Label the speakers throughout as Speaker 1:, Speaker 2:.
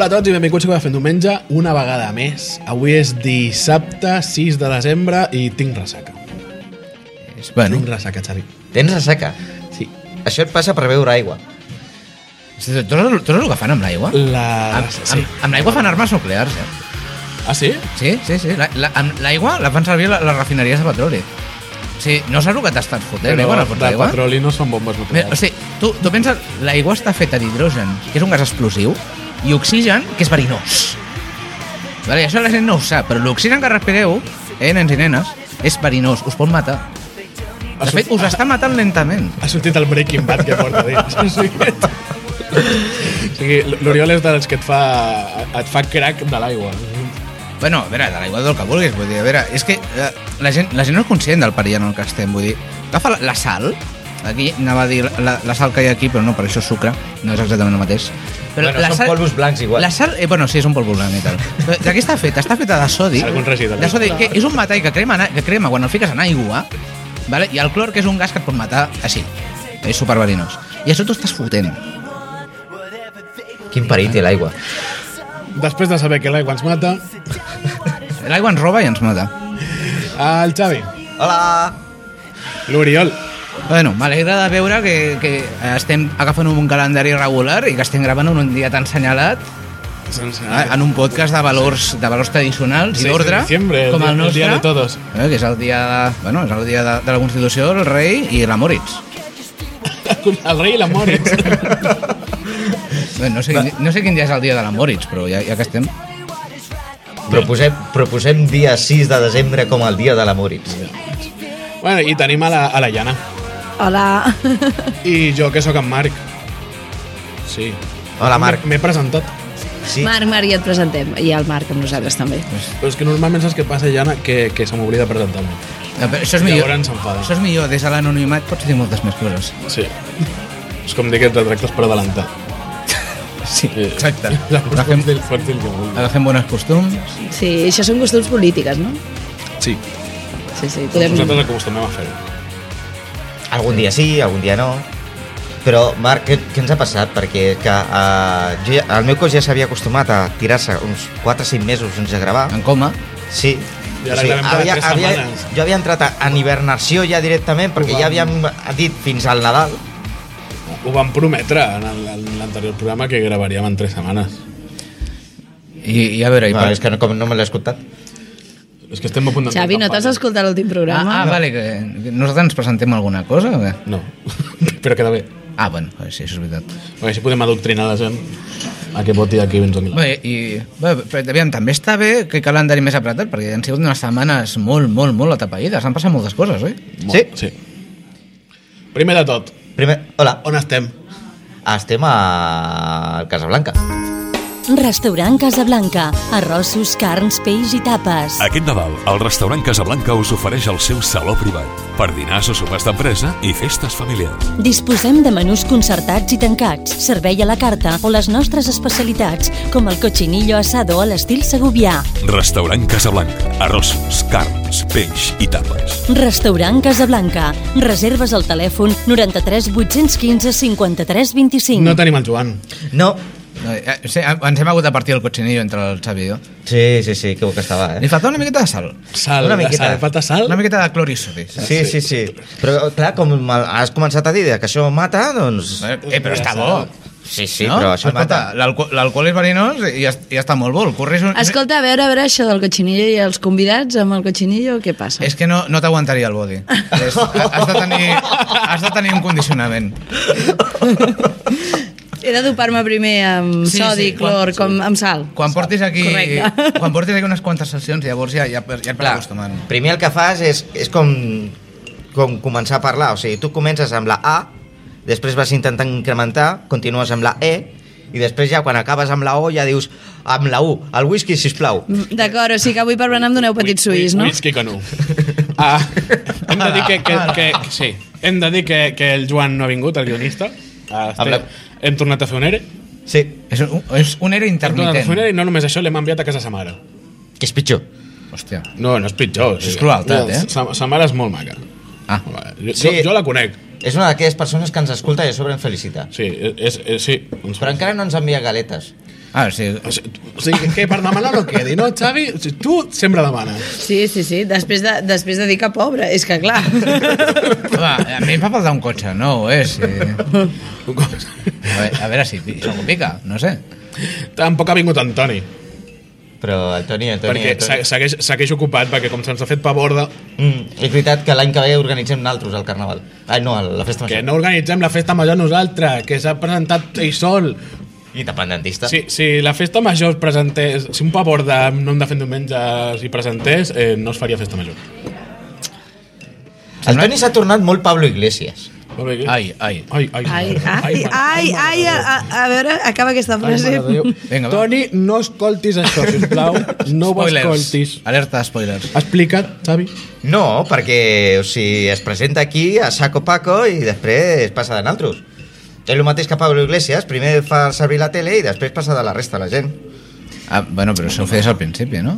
Speaker 1: a tots i benvinguts a Cafè Diumenge una vegada més. Avui és dissabte 6 de desembre i tinc ressaca.
Speaker 2: És- Bueno,
Speaker 1: Tinc ressaca, Xavi.
Speaker 2: tens ressaca.
Speaker 1: Sí.
Speaker 2: Això et passa per beure aigua.
Speaker 3: Tu saps, tu saps el que fan amb l'aigua?
Speaker 1: La...
Speaker 3: Amb, amb, amb l'aigua fan armes nuclears, eh?
Speaker 1: Ah, sí?
Speaker 3: Ah, Sí, sí, sí. La, la, amb l'aigua la fan servir a les refineries de petroli. Sí, no saps el que t'estàs fotent, eh, quan el fots
Speaker 1: de
Speaker 3: d'aigua?
Speaker 1: petroli no són bombes
Speaker 3: Mira, O
Speaker 1: nuclears.
Speaker 3: sigui, tu, tu pensa, l'aigua està feta d'hidrogen, que és un gas explosiu, i oxigen, que és verinós. Vale, això la gent no ho sap, però l'oxigen que respireu, eh, nens i nenes, és verinós, us pot matar. De fet, us està matant lentament.
Speaker 1: Ha sortit el Breaking Bad que porta dins. O sigui, o sigui, l'Oriol és dels que et fa, et fa crack de l'aigua.
Speaker 3: Bueno, a veure, de l'aigua del que vulguis, vull dir, a veure, és que eh, la, gent, la gent no és conscient del perill en el que estem, vull dir, agafa la, la sal, aquí anava a dir la- la, la sal que hi ha aquí, però no, per això és sucre, no és exactament el mateix. Però
Speaker 2: bueno,
Speaker 3: la
Speaker 2: són
Speaker 3: sal,
Speaker 2: polvos blancs igual.
Speaker 3: La sal, eh, bueno, sí, és un polvo blanc i tal. Però De què està feta? Està feta de sodi.
Speaker 1: Algun residu.
Speaker 3: De sodi, que és un metall que crema, que crema quan el fiques en aigua, vale? i el clor, que és un gas que et pot matar així. És superverinós. I això t'ho estàs fotent.
Speaker 2: Quin perill té l'aigua.
Speaker 1: Després de saber que l'aigua ens mata,
Speaker 3: L'aigua ens roba i ens mata.
Speaker 1: el Xavi,
Speaker 2: Hola!
Speaker 1: l'Oriol,
Speaker 3: Bueno, m'alegra de veure que, que estem agafant un calendari regular i que estem gravant en un dia tan senyalat
Speaker 1: sense...
Speaker 3: eh, en un podcast de valors, de valors tradicionals
Speaker 1: Sí,
Speaker 3: i
Speaker 1: de
Speaker 3: d'ordre,
Speaker 1: diciembre, el
Speaker 3: com
Speaker 1: dia-
Speaker 3: el
Speaker 1: el
Speaker 3: nostre,
Speaker 1: dia de todos.
Speaker 3: eh, que és el dia, de, bueno, és el dia de, de la Constitució, el rei i la Moritz.
Speaker 1: El rei i la Moritz.
Speaker 3: Bé, No sé, quin- no sé quin dia és el dia de la Moritz, però ja, ja que estem...
Speaker 2: Proposem, proposem dia 6 de desembre com el dia de la Moritz.
Speaker 1: bueno, i tenim a la, a la Llana.
Speaker 4: Hola.
Speaker 1: I jo, que sóc en Marc. Sí.
Speaker 2: Hola, Marc.
Speaker 1: M'he presentat.
Speaker 2: Sí.
Speaker 4: Marc, Marc, ja et presentem. I el Marc amb nosaltres també.
Speaker 1: Però és que normalment saps què passa, Jana? Que, que se m'oblida presentar-me.
Speaker 3: No, eh, però això és millor,
Speaker 1: Llavors s'enfada.
Speaker 3: això és millor, des de l'anonimat pots dir moltes més coses.
Speaker 1: Sí. És com dir que et retractes per adelantar.
Speaker 3: Sí,
Speaker 1: Eh,
Speaker 3: exacte. Ah,
Speaker 1: Llavors
Speaker 3: Agafem,
Speaker 1: pots dir, pots dir el que vulguis.
Speaker 3: agafem bones costums.
Speaker 4: Sí, això són costums polítiques, no?
Speaker 1: Sí.
Speaker 4: Sí, sí.
Speaker 1: Doncs
Speaker 4: Podem...
Speaker 1: nosaltres acostumem a fer-ho.
Speaker 2: Algun dia sí, algun dia no. Però, Marc, què, què ens ha passat? Perquè que, uh, jo, ja- el meu cos ja s'havia acostumat a tirar-se uns 4 o 5 mesos sense gravar.
Speaker 3: En coma.
Speaker 2: Sí.
Speaker 1: Ja l'arreglem cada tres setmanes.
Speaker 2: jo havia entrat a- en hibernació ja directament perquè ja havíem dit fins al Nadal
Speaker 1: Ho vam prometre en el- en l'anterior programa que gravaríem en tres setmanes.
Speaker 3: I, i a veure, i
Speaker 2: no,
Speaker 3: per-
Speaker 2: és que no, com no me l'he escoltat
Speaker 1: És que estem a punt d'entrar.
Speaker 4: Xavi, no
Speaker 1: campanya.
Speaker 4: t'has escoltat l'últim programa?
Speaker 3: Ah, ah, vale, que que nosaltres ens presentem alguna cosa o què?
Speaker 1: No, però queda bé.
Speaker 3: Ah, bueno, eh, sí, això és veritat.
Speaker 1: Perquè així podem adoctrinar la gent a que voti aquí vens a Milà.
Speaker 3: Bé, i, bé, però, aviam, també està bé que calendari més apretat, perquè han sigut unes setmanes molt, molt, molt atapeïdes. Han passat moltes coses, oi?
Speaker 2: Sí.
Speaker 1: sí. Primer de tot,
Speaker 2: primer, hola,
Speaker 1: on estem?
Speaker 2: estem a al Casablanca
Speaker 5: Restaurant Casablanca. Arrossos, carns, peix i tapes.
Speaker 6: Aquest Nadal, el restaurant Casablanca us ofereix el seu saló privat per dinars o sopars d'empresa i festes familiars.
Speaker 5: Disposem de menús concertats i tancats, servei a la carta o les nostres especialitats, com el cochinillo asado a l'estil segubià.
Speaker 6: Restaurant Casablanca. Arrossos, carns, peix i tapes.
Speaker 5: Restaurant Casablanca. Reserves al telèfon 93 815 53 25.
Speaker 1: No tenim el Joan.
Speaker 2: no,
Speaker 3: No, eh, sí, ens hem hagut de partir el cochinillo entre el Xavi i jo.
Speaker 2: sí, sí, sí, que bo que estava eh?
Speaker 3: Li faltava una miqueta de sal.
Speaker 1: Sal,
Speaker 2: Una
Speaker 1: de
Speaker 2: miqueta.
Speaker 1: sal, falta sal.
Speaker 3: Una miqueta de clor i sodi. saps?
Speaker 2: Sí, sí, sí. Però, clar, com el- has començat a dir que això mata, doncs...
Speaker 3: Eh, però està bo.
Speaker 2: Sí, sí, no? però això
Speaker 3: Escolta,
Speaker 2: mata.
Speaker 3: l'alco- l'alcohol és verinós i ja, ja està molt bo. El curri és un...
Speaker 4: Escolta, a veure, a veure això del cochinillo i els convidats amb el cochinillo, què passa?
Speaker 3: És que no, no t'aguantaria el body. És, has, de tenir, has de tenir un condicionament.
Speaker 4: He de dopar-me primer amb
Speaker 3: Sí, sí,
Speaker 4: sodi,
Speaker 3: quan-
Speaker 4: clor, com amb sal.
Speaker 3: Quan portis aquí,
Speaker 4: Correcte.
Speaker 3: quan portis aquí unes quantes sessions, llavors ja, ja, ja et vas acostumant.
Speaker 2: primer el que fas és, és com, com començar a parlar. O sigui, tu comences amb la A, després vas intentant incrementar, continues amb la E, i després ja quan acabes amb la O ja dius amb la U, el whisky, sisplau.
Speaker 4: D'acord, o sigui que avui per berenar em doneu petits ulls, no?
Speaker 1: Whisky con U. Ah, hem de dir que, que, que, que, sí. Hem de dir que, que el Joan no ha vingut, el guionista. Ah, estem,
Speaker 2: Habla-
Speaker 1: Hem tornat a fer un ERE.
Speaker 2: Sí,
Speaker 3: És un, és un era
Speaker 1: Hem tornat a fer un ERE
Speaker 3: intermitent.
Speaker 1: i no només això, l'hem enviat a casa sa mare.
Speaker 2: que és pitjor.
Speaker 3: Hòstia.
Speaker 1: No, no és pitjor. o sigui,
Speaker 3: és crueltat, eh?
Speaker 1: Sa, sa mare és molt maca.
Speaker 3: Ah.
Speaker 1: Molt maca. Jo,
Speaker 2: Sí.
Speaker 1: jo, jo la conec.
Speaker 2: És una d'aquelles persones que ens escolta i a sobre ens felicita.
Speaker 1: Sí, és, és, sí. Ens
Speaker 2: Però encara no ens envia galetes.
Speaker 3: Ah, o sigui,
Speaker 1: O sigui, tu- o sigui, que per demanar no quedi, no, Xavi? O sigui, tu sempre demanes.
Speaker 4: Sí, sí, sí. Després de, després de dir que pobre, és que clar.
Speaker 3: va, a mi em fa faltar un cotxe, no ho és. Eh? A veure, a veure si, pi- si algú pica, no sé.
Speaker 1: Tampoc ha vingut en Toni,
Speaker 2: Però el Toni, el Toni...
Speaker 1: perquè
Speaker 2: el
Speaker 1: se-
Speaker 2: Toni.
Speaker 1: segueix, segueix ocupat, perquè com se'ns ha fet pa borda,
Speaker 2: Mm, és veritat que l'any que ve organitzem naltros al carnaval. Ai, no, a la festa
Speaker 1: que
Speaker 2: major.
Speaker 1: no organitzem la festa major nosaltres, que s'ha presentat ell sol.
Speaker 2: Independentista.
Speaker 1: Si, si la festa major es presentés, si un pa borda amb nom de fent diumenge s'hi presentés, eh, no es faria festa major.
Speaker 2: El Toni s'ha tornat molt Pablo Iglesias.
Speaker 1: Molt bé,
Speaker 3: Ai, ai.
Speaker 1: Ai, ai, mare de Déu.
Speaker 4: Ai, ai,
Speaker 1: mare-
Speaker 4: ai,
Speaker 1: mare
Speaker 4: ai,
Speaker 1: de Déu.
Speaker 4: a, a veure, acaba aquesta
Speaker 1: Ai,
Speaker 4: frase.
Speaker 1: mare de Déu.
Speaker 3: Vinga, va.
Speaker 1: Toni, no escoltis això, sisplau. No ho escoltis.
Speaker 3: Alerta, spoilers.
Speaker 1: Explica't, Xavi.
Speaker 2: No, perquè o sigui, es presenta aquí a Saco Paco i després passa de naltros. És el mateix que Pablo Iglesias, primer fa servir la tele i després passa de la resta de la gent.
Speaker 3: Ah, bueno, però això ho feies al principi, no?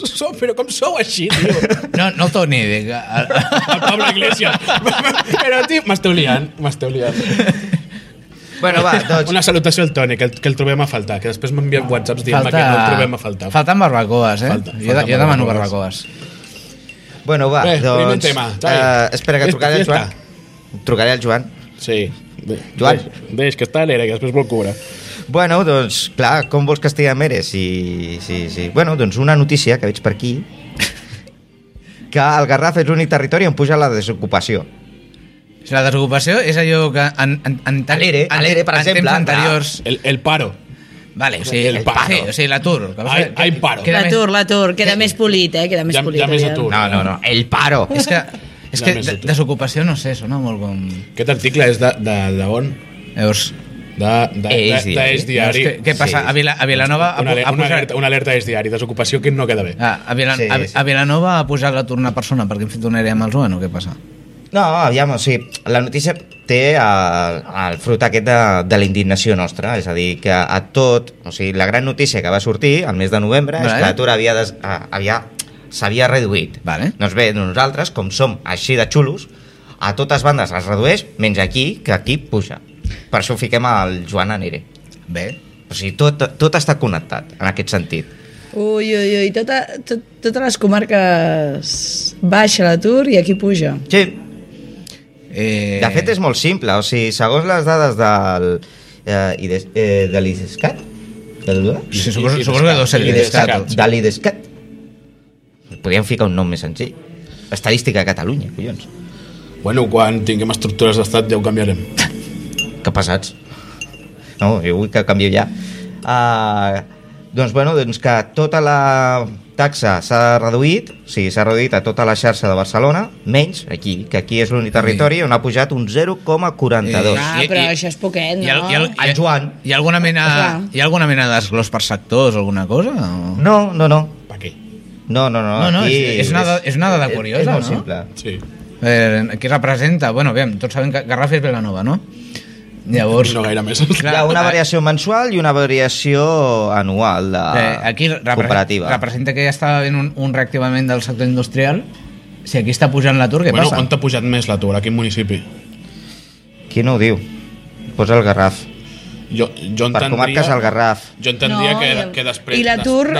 Speaker 1: Sou, però com sou així, tio?
Speaker 3: No, no el Toni, dic... a- a-
Speaker 1: El Pablo Iglesias. Però, tio, m'esteu liant, m'esteu liant.
Speaker 2: Bueno, va, doncs...
Speaker 1: Una salutació al Toni, que el, que el trobem a faltar, que després m'envien whatsapps dient-me que no el trobem a faltar.
Speaker 3: Falten barbacoes,
Speaker 1: Falta-
Speaker 3: eh? Falta,
Speaker 1: falten
Speaker 3: jo, de- jo demano
Speaker 1: barbacoes.
Speaker 3: barbacoes.
Speaker 2: Bueno, va,
Speaker 1: Bé, primer
Speaker 2: doncs...
Speaker 1: tema, Xavi.
Speaker 2: eh, espera, que
Speaker 1: Festa,
Speaker 2: trucaré al Joan.
Speaker 1: festa.
Speaker 2: Trucaré al Joan.
Speaker 1: Sí. De-
Speaker 2: Joan.
Speaker 1: Deix, deix, que està a l'era, que després vol cobrar.
Speaker 2: Bueno, doncs, clar, com vols que estigui a Mere? Sí, sí, sí. Bueno, doncs una notícia que veig per aquí que el Garraf és l'únic territori on puja la desocupació.
Speaker 3: Si la desocupació és allò que en, en, en,
Speaker 2: A l'ERE, a l'ERE, per
Speaker 3: en
Speaker 2: exemple,
Speaker 3: temps anteriors...
Speaker 1: El, el paro.
Speaker 3: Vale, o sigui,
Speaker 1: El
Speaker 3: el
Speaker 1: paro.
Speaker 3: Sí, o sigui, l'atur. que va
Speaker 1: Ai-
Speaker 3: ser-
Speaker 1: ai, paro.
Speaker 3: queda més-
Speaker 4: L'atur, l'atur, queda més polit, eh? Queda més
Speaker 1: Ja-
Speaker 4: polit.
Speaker 1: ja més
Speaker 4: aviam.
Speaker 1: atur.
Speaker 2: No, no, no, el paro.
Speaker 3: És que, és
Speaker 1: Ja
Speaker 3: que
Speaker 1: més
Speaker 3: de-
Speaker 1: atur.
Speaker 3: desocupació, no sé, sona molt com...
Speaker 1: Aquest article és de, de, de on?
Speaker 3: Llavors,
Speaker 1: De, de, de,
Speaker 2: Ells
Speaker 1: de,
Speaker 2: diari.
Speaker 1: Ells Eh, diari.
Speaker 3: Llavors, què, què passa?
Speaker 2: Sí.
Speaker 3: A, Vila, a Vilanova ha,
Speaker 1: Una, ale-
Speaker 3: pu- ha
Speaker 1: una,
Speaker 3: posat...
Speaker 1: alerta, una alerta és diari, desocupació que no queda bé.
Speaker 3: Ah, a, Vilan,
Speaker 2: Sí,
Speaker 3: a,
Speaker 2: sí.
Speaker 3: a Vilanova ha posat l'atur una persona perquè hem fet una àrea amb el Joan o què passa?
Speaker 2: No, aviam, o sigui, la notícia té el, el fruit aquest de, de la indignació nostra, és a dir, que a tot, o sigui, la gran notícia que va sortir el mes de novembre és
Speaker 3: Vale.
Speaker 2: que l'atur havia, des, ah, havia s'havia reduït.
Speaker 3: Vale.
Speaker 2: Doncs bé, nosaltres, com som així de xulos, a totes bandes es redueix, menys aquí, que aquí puja. Per això ho fiquem al Joan Anere.
Speaker 3: Bé,
Speaker 2: O sigui, tot, tot està connectat, en aquest sentit.
Speaker 4: Ui, ui, ui, tota, tot, totes les comarques baixa l'atur i aquí puja.
Speaker 2: Sí,
Speaker 3: eh,
Speaker 2: de fet és molt simple, o sigui, segons les dades del, eh, i de, eh, de l'ISCAT, del...
Speaker 3: Sí, suposo,
Speaker 1: I- i
Speaker 3: suposo que deu ser
Speaker 1: descat- i
Speaker 3: l'idescat.
Speaker 1: descat.
Speaker 2: de l'IDESCAT. Podríem ficar un nom més senzill. Estadística a Catalunya, collons.
Speaker 1: Bueno, quan tinguem estructures d'estat ja ho canviarem.
Speaker 2: Que passats. No, jo vull que canvio ja. Uh, doncs, bueno, doncs que tota la taxa s'ha reduït, o sigui, s'ha reduït a tota la xarxa de Barcelona, menys aquí, que aquí és l'únic territori on ha pujat un 0,42.
Speaker 3: Eh,
Speaker 4: Ah,
Speaker 3: I-
Speaker 4: però
Speaker 3: i-
Speaker 4: això és poquet, no?
Speaker 3: Hi ha, hi ha, hi ha,
Speaker 2: El Joan.
Speaker 3: Hi ha alguna mena,
Speaker 4: Clar.
Speaker 3: hi ha alguna mena de desglòs per sectors o alguna cosa? O...
Speaker 2: No, no, no.
Speaker 1: Per què?
Speaker 2: No, no, no.
Speaker 3: No, no,
Speaker 2: aquí
Speaker 3: és- és una da- és una dada
Speaker 2: és-
Speaker 3: curiosa,
Speaker 2: és
Speaker 3: no?
Speaker 2: molt simple.
Speaker 1: Sí.
Speaker 3: Eh, què representa? Bueno, bé, tots sabem que Garraf és Vilanova, no? Llavors... Ah,
Speaker 1: I no gaire més.
Speaker 2: Hi ha una variació mensual i una variació anual de
Speaker 3: Eh, aquí representa,
Speaker 2: comparativa.
Speaker 3: representa que ja està havent un, un reactivament del sector industrial. Si aquí està pujant l'atur, què
Speaker 1: bueno,
Speaker 3: passa?
Speaker 1: on t'ha pujat més l'atur? A quin municipi?
Speaker 2: Qui no ho diu? Posa el Garraf.
Speaker 1: Jo, jo
Speaker 2: Per
Speaker 1: entendria...
Speaker 2: comarques el Garraf.
Speaker 1: Jo entendria
Speaker 4: No,
Speaker 1: que,
Speaker 4: i el-
Speaker 1: que després...
Speaker 4: I l'atur
Speaker 1: des-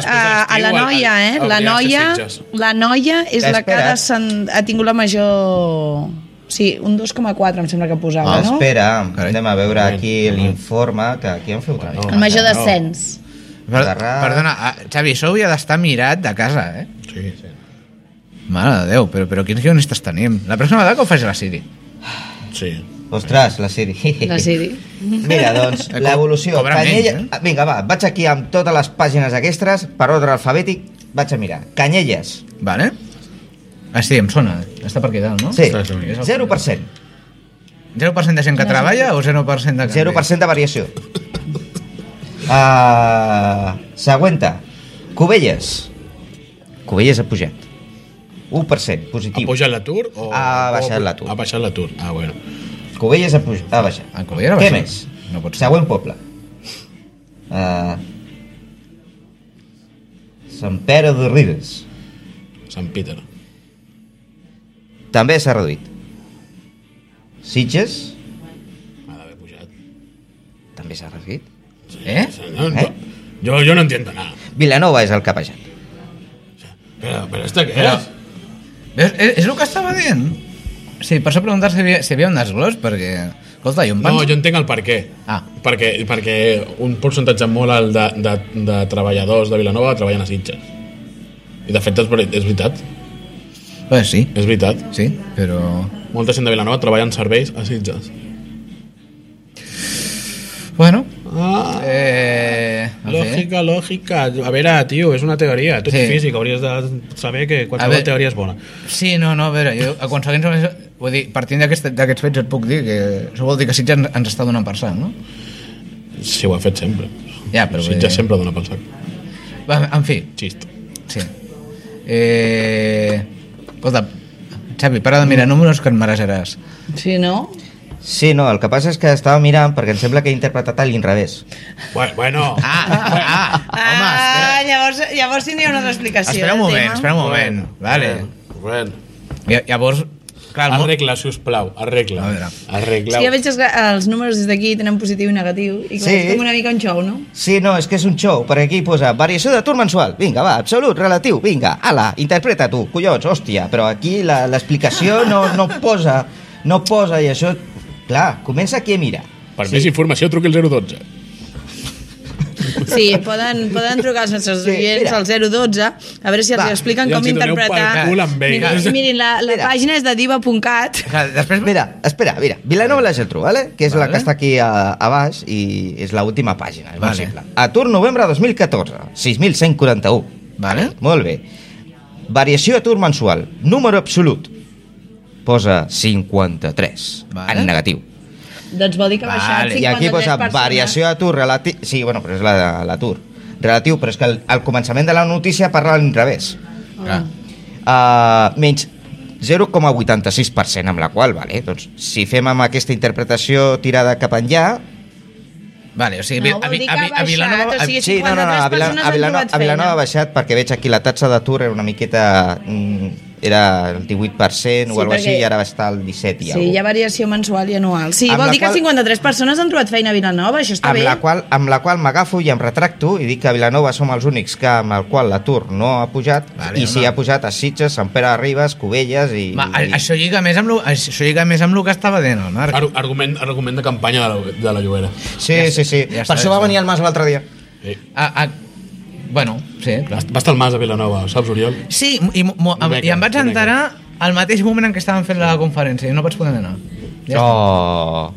Speaker 1: després
Speaker 4: a,
Speaker 1: de
Speaker 4: a la
Speaker 1: l'estiu,
Speaker 4: noia,
Speaker 1: al-
Speaker 4: eh?
Speaker 1: al-
Speaker 4: La
Speaker 1: hauria de ser
Speaker 4: noia,
Speaker 1: Sitges.
Speaker 4: la noia és la que
Speaker 2: Espera.
Speaker 4: ha, descend- ha tingut la major... Sí, un 2,4 em sembla que posava,
Speaker 2: Ah,
Speaker 4: no?
Speaker 2: espera,
Speaker 3: Carai.
Speaker 2: anem a veure aquí l'informe que aquí hem fet una
Speaker 1: Bueno.
Speaker 2: mica.
Speaker 4: El major descens.
Speaker 3: Per,
Speaker 2: Garraf.
Speaker 3: perdona, ah, Xavi, això hauria d'estar mirat de casa, eh?
Speaker 1: Sí, sí.
Speaker 3: Mare de Déu, però, però quins guionistes tenim? La pròxima vegada que ho faci la Siri.
Speaker 1: Sí.
Speaker 2: Ostres, la Siri.
Speaker 4: La Siri.
Speaker 2: Mira, doncs,
Speaker 3: Eh, co-
Speaker 2: l'evolució.
Speaker 3: cobra menys,
Speaker 2: Canyella...
Speaker 3: eh?
Speaker 2: Ah, Vinga, va, vaig aquí amb totes les pàgines aquestes, per ordre alfabètic, vaig a mirar. Canyelles,
Speaker 3: Vale? Ah, sí, em sona. Està per aquí dalt, no?
Speaker 2: sí,
Speaker 1: Ostres, una mica.
Speaker 2: 0%.
Speaker 3: 0% de gent que treballa o 0% de canvi?
Speaker 2: 0% de variació. Uh, següenta, Cubelles. Cubelles ha pujat. 1%
Speaker 1: Ha
Speaker 2: positiu.
Speaker 1: pujat l'atur? O...
Speaker 2: Ha baixat
Speaker 1: o-
Speaker 2: l'atur.
Speaker 1: Ha baixat l'atur. Ah, bueno.
Speaker 2: Covelles ha, puj... ha baixat.
Speaker 3: Ah, Cubelles ha
Speaker 2: Què
Speaker 3: baixat.
Speaker 2: més?
Speaker 3: No pot ser.
Speaker 2: Següent poble. Uh... Sant Pere de Ribes.
Speaker 1: Sant Peter.
Speaker 2: També s'ha reduït. Sitges.
Speaker 1: Ha d'haver pujat.
Speaker 2: També s'ha reduït.
Speaker 3: Eh?
Speaker 1: No, no.
Speaker 2: Eh?
Speaker 1: Yo, yo no entiendo nada.
Speaker 2: Vilanova és el que ha pejat.
Speaker 1: Pero, pero ¿esto qué
Speaker 3: Però-
Speaker 1: es?
Speaker 3: Veus? És, és el que estava dient. Sí, per això preguntar si, havia- si hi havia un desglòs, perquè... Escolta, jo em
Speaker 1: No,
Speaker 3: penso...
Speaker 1: jo entenc el per què.
Speaker 3: Ah.
Speaker 1: Perquè, perquè un percentatge molt alt de, de, de treballadors de Vilanova treballen a Sitges. I de fet és, veri- és veritat,
Speaker 3: Bé, sí,
Speaker 1: és veritat.
Speaker 3: sí, però...
Speaker 1: Molta gent de Vilanova treballa en serveis a Sitges.
Speaker 3: Bueno,
Speaker 1: Ah,
Speaker 3: eh... no sé.
Speaker 1: lògica, lògica. A veure, tio, és una teoria. Tu ets
Speaker 3: Sí.
Speaker 1: sí. físic, hauries de saber que
Speaker 3: A
Speaker 1: qualsevol
Speaker 3: veure.
Speaker 1: teoria és bona.
Speaker 3: Sí, no, no, a veure, jo aconseguint... Vull dir, partint d'aquest- d'aquests fets et puc dir que això vol dir que Sitges ens- ens està donant per sang, no?
Speaker 1: Sí, ho ha fet sempre.
Speaker 3: Ja, però bé.
Speaker 1: Sitges sempre dona pel sac.
Speaker 3: Va, en fi,
Speaker 1: Xist.
Speaker 3: sí. Eh... Escolta, Xavi, para de mirar
Speaker 4: Mm.
Speaker 3: números que et marejaràs.
Speaker 4: Sí, no?
Speaker 2: Sí, no, el que passa és que estava mirant perquè em sembla que he interpretat a l'inrevés.
Speaker 1: Bueno, bueno.
Speaker 3: Ah, ah, ah, home, espera.
Speaker 4: ah, llavors, llavors Ah, sí n'hi ha una altra explicació.
Speaker 3: Espera un
Speaker 4: del
Speaker 3: moment,
Speaker 4: tema.
Speaker 3: espera un moment. Vale.
Speaker 1: Bueno.
Speaker 3: Lla- Llavors, clar, el món...
Speaker 1: Arregla, sisplau,
Speaker 3: A
Speaker 1: arregla.
Speaker 3: veure.
Speaker 1: Arregla.
Speaker 4: És que ja veig els, els números des d'aquí tenen positiu i negatiu i
Speaker 2: Sí.
Speaker 4: clar, sí. és com una mica un xou, no?
Speaker 2: Sí, no, és que és un show, perquè aquí posa variació d'atur mensual. Vinga, va, absolut, relatiu, vinga, ala, interpreta tu, collons, hòstia. Però aquí la- l'explicació no, no posa, no posa, i això, clar, comença aquí a mirar.
Speaker 1: Per sí. més informació, truqui al 012.
Speaker 4: Sí, poden, poden trucar els nostres
Speaker 2: Sí,
Speaker 4: sí, oients
Speaker 2: mira.
Speaker 4: al 012 a veure si els
Speaker 2: Va,
Speaker 4: expliquen
Speaker 1: ja
Speaker 4: com
Speaker 1: els hi doneu
Speaker 4: interpretar...
Speaker 1: pel cul amb ells.
Speaker 4: Mirin, mirin la, la
Speaker 2: Mira.
Speaker 4: pàgina és de diva.cat
Speaker 3: Clar, després...
Speaker 2: Mira, espera, mira, Vilanova i la Geltrú, vale? que és vale. la
Speaker 3: Vale.
Speaker 2: que està aquí a, a baix i és l'última pàgina, és vale.
Speaker 3: Vale.
Speaker 2: molt simple. Atur novembre 2014, 6.141.
Speaker 3: Vale.
Speaker 2: Molt bé. Variació d'atur mensual, número absolut, posa 53,
Speaker 3: Vale.
Speaker 2: vale. en negatiu.
Speaker 4: doncs vol dir que ha baixat
Speaker 3: Vale.
Speaker 4: vale.
Speaker 2: I aquí
Speaker 4: 53
Speaker 2: posa
Speaker 4: persones.
Speaker 2: variació d'atur relatiu... Sí, bueno, però és la- l'atur. Relatiu, però és que al- al començament de la notícia parla a l'inrevés.
Speaker 4: Ah.
Speaker 3: Clar.
Speaker 2: Uh, menys 0,86% amb la qual, vale? Doncs si fem amb aquesta interpretació tirada cap enllà...
Speaker 3: Vale, o sigui,
Speaker 4: No, vol dir que ha baixat,
Speaker 3: Vilanova...
Speaker 4: o sigui,
Speaker 3: a-
Speaker 2: Sí, no, no, no, a, Vilan
Speaker 4: 53 persones
Speaker 2: a,
Speaker 4: han
Speaker 2: Vilanova,
Speaker 4: trobat
Speaker 2: a Vilanova
Speaker 4: feina.
Speaker 2: ha baixat perquè veig aquí la taxa d'atur era una miqueta... Mm, era el 18%
Speaker 4: Sí,
Speaker 2: o alguna cosa així
Speaker 4: perquè-
Speaker 2: i ara va estar al 17 i
Speaker 4: Sí, hi ha variació mensual i anual. Sí,
Speaker 2: Amb
Speaker 4: vol
Speaker 2: la
Speaker 4: dir que
Speaker 2: qual-
Speaker 4: 53 persones han trobat feina a Vilanova, això està
Speaker 2: amb
Speaker 4: bé.
Speaker 2: la, qual, amb la qual m'agafo i em retracto i dic que a Vilanova som els únics que amb el qual l'atur no ha pujat
Speaker 3: Vale,
Speaker 2: i si
Speaker 3: home.
Speaker 2: ha pujat a Sitges, Sant Pere de Ribes, Cubelles i...
Speaker 3: Ma, a-
Speaker 2: i...
Speaker 3: això lliga més amb lo, això lliga més amb lo que estava dient el Marc.
Speaker 1: Ar argument, argument de campanya de la, de la Llobera.
Speaker 2: Sí,
Speaker 3: Ja
Speaker 2: sí,
Speaker 3: està,
Speaker 2: sí.
Speaker 3: ja
Speaker 2: per
Speaker 3: està,
Speaker 2: això
Speaker 3: ja
Speaker 2: va
Speaker 3: està.
Speaker 2: venir el Mas l'altre dia.
Speaker 1: Sí.
Speaker 3: A, a, bueno, sí, clar.
Speaker 1: Va estar el Mas a Vilanova, ho saps, Oriol?
Speaker 3: Sí, i, mo, mo,
Speaker 1: Una mica,
Speaker 3: i em vaig
Speaker 1: una mica.
Speaker 3: enterar al mateix moment en què estaven fent la conferència i no vaig poder anar. Ja
Speaker 2: Oh.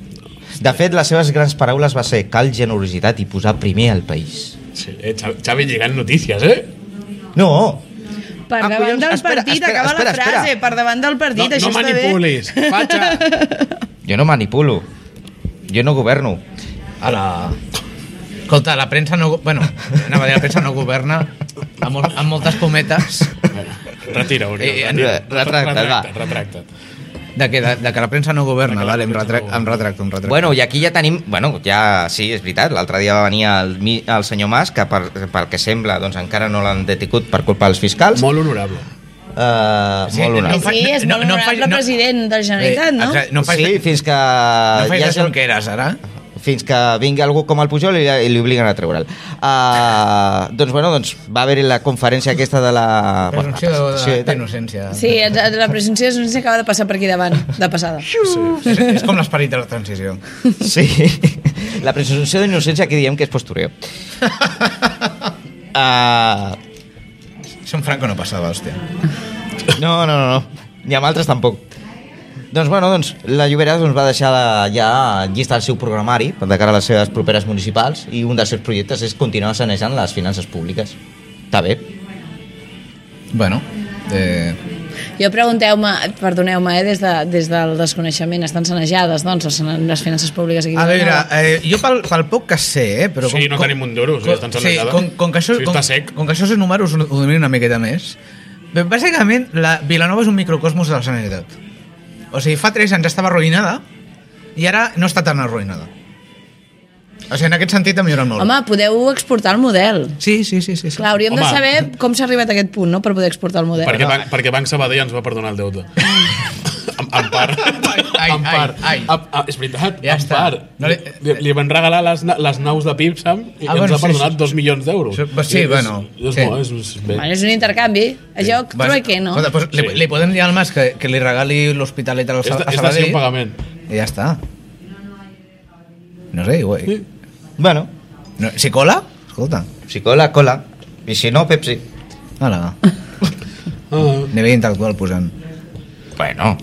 Speaker 2: De fet, les seves grans paraules va ser cal generositat i posar primer al país.
Speaker 1: Sí. Eh, Xavi- Xavi lligant notícies, eh?
Speaker 2: No,
Speaker 4: Per
Speaker 2: Ah,
Speaker 4: davant
Speaker 2: collons,
Speaker 4: del
Speaker 2: espera,
Speaker 4: partit,
Speaker 2: espera,
Speaker 4: acaba
Speaker 2: espera,
Speaker 4: la
Speaker 2: espera.
Speaker 4: frase, per davant del
Speaker 1: No,
Speaker 4: partit,
Speaker 1: no
Speaker 4: això està bé.
Speaker 1: manipulis, fatxa!
Speaker 2: jo no manipulo. Jo no governo.
Speaker 3: A la... Escolta, la premsa no... Bueno, anava a dir, la premsa no governa amb, mol, amb moltes pometes
Speaker 1: Retira, Oriol.
Speaker 3: Eh, eh,
Speaker 1: retira.
Speaker 2: re- retracta't, va.
Speaker 1: Retracta't, retracta't.
Speaker 3: de que, de, de que la premsa no
Speaker 1: De
Speaker 3: governa,
Speaker 1: que la
Speaker 3: vale, em,
Speaker 1: premsa
Speaker 3: retrac,
Speaker 1: no
Speaker 3: em
Speaker 1: governa.
Speaker 3: retracto, em retracto.
Speaker 2: Bueno, i aquí ja tenim... Bueno, ja sí, és veritat, l'altre dia va venir el, mi- el senyor Mas, que per, pel que sembla doncs, encara no l'han detingut per culpa dels fiscals.
Speaker 1: Molt honorable.
Speaker 2: Uh,
Speaker 3: Sí,
Speaker 2: sí, molt honorable.
Speaker 3: no
Speaker 4: Sí, és
Speaker 3: No,
Speaker 4: molt
Speaker 3: no,
Speaker 4: no,
Speaker 3: no,
Speaker 4: honorable
Speaker 3: no, no.
Speaker 4: president de la Generalitat, no?
Speaker 3: exacte, no faig,
Speaker 2: sí, fins que...
Speaker 3: no
Speaker 2: hi
Speaker 3: faig
Speaker 2: hagi-
Speaker 3: ja de Junqueras, ara.
Speaker 2: fins que vingui algú com el Pujol i, i li obliguen a treure'l. Uh, doncs, bueno, doncs va haver-hi la conferència aquesta de la... Ah, bueno, la
Speaker 3: Presumpció
Speaker 2: presentació i
Speaker 3: de-
Speaker 2: tal.
Speaker 3: d'innocència.
Speaker 4: Sí, la la presumpció no sé acaba de passar per aquí davant, de passada.
Speaker 1: Mm.
Speaker 3: És, és com l'esperit de la transició.
Speaker 2: Sí. La presumpció d'innocència aquí diem que és postureo. Uh,
Speaker 3: Això en Franco no passava, hòstia.
Speaker 2: no, no, no, no. Ni amb altres tampoc. Doncs, bueno, doncs, la Llobera doncs, va deixar de, ja en llista el seu programari de cara a les seves properes municipals i un dels seus projectes és continuar sanejant les finances públiques. Està bé.
Speaker 3: Bueno, eh,
Speaker 4: Jo pregunteu-me, perdoneu-me, eh, des, de, des del desconeixement, estan sanejades, doncs, les, les finances públiques aquí?
Speaker 3: a veure,
Speaker 4: Vilanova?
Speaker 3: eh, jo pel, pel poc que sé, eh, però...
Speaker 1: Sí, no tenim un duro, sí, estan
Speaker 3: sí,
Speaker 1: sanejades.
Speaker 3: com, com, que això,
Speaker 1: Sí,
Speaker 3: com,
Speaker 1: està sec.
Speaker 3: com que això és números, ho domino una miqueta més. Bé, bàsicament, la Vilanova és un microcosmos de la Generalitat. O sigui, fa 3 anys estava arruïnada i ara no està tan arruïnada. O sigui, en aquest sentit ha millorat molt.
Speaker 4: Home, podeu exportar el model.
Speaker 3: Sí, sí, sí, sí. sí.
Speaker 4: Clar, hauríem
Speaker 1: Home.
Speaker 4: de saber com s'ha arribat a aquest punt, no?, per poder exportar el model.
Speaker 1: Perquè, banc, perquè Banc Sabadell ens va perdonar el deute. amb, amb, part.
Speaker 3: Ai,
Speaker 1: en part.
Speaker 3: ai, ai.
Speaker 1: A, a, és veritat,
Speaker 3: Ja
Speaker 1: en
Speaker 3: està.
Speaker 1: part.
Speaker 3: No
Speaker 1: li,
Speaker 3: li-
Speaker 1: li, li, van regalar les, na- les naus de Pipsam i
Speaker 3: Ah,
Speaker 1: ah, ens
Speaker 3: bueno,
Speaker 1: ha
Speaker 3: sí,
Speaker 1: perdonat
Speaker 3: sí.
Speaker 1: dos milions d'euros.
Speaker 3: Sí, pues sí,
Speaker 1: I és-
Speaker 3: bueno,
Speaker 1: És,
Speaker 3: sí.
Speaker 1: bo, és, és bé.
Speaker 4: Bueno, és un intercanvi. Jo
Speaker 3: Vas-
Speaker 4: crec que no.
Speaker 3: Escolta, pues, li,
Speaker 1: Sí.
Speaker 3: li podem dir al Mas que, que li regali l'hospitalet a,
Speaker 1: És, de-
Speaker 3: Sa- a
Speaker 1: és de ser un
Speaker 3: Sabadell
Speaker 1: pagament.
Speaker 3: i ja està. No sé, güey.
Speaker 1: Sí.
Speaker 2: Bueno,
Speaker 3: No, si cola? Escolta.
Speaker 2: si cola, cola. I si no, Pepsi.
Speaker 3: Hola.
Speaker 1: Ah,
Speaker 3: Nivell intel·lectual posant.
Speaker 2: Bueno.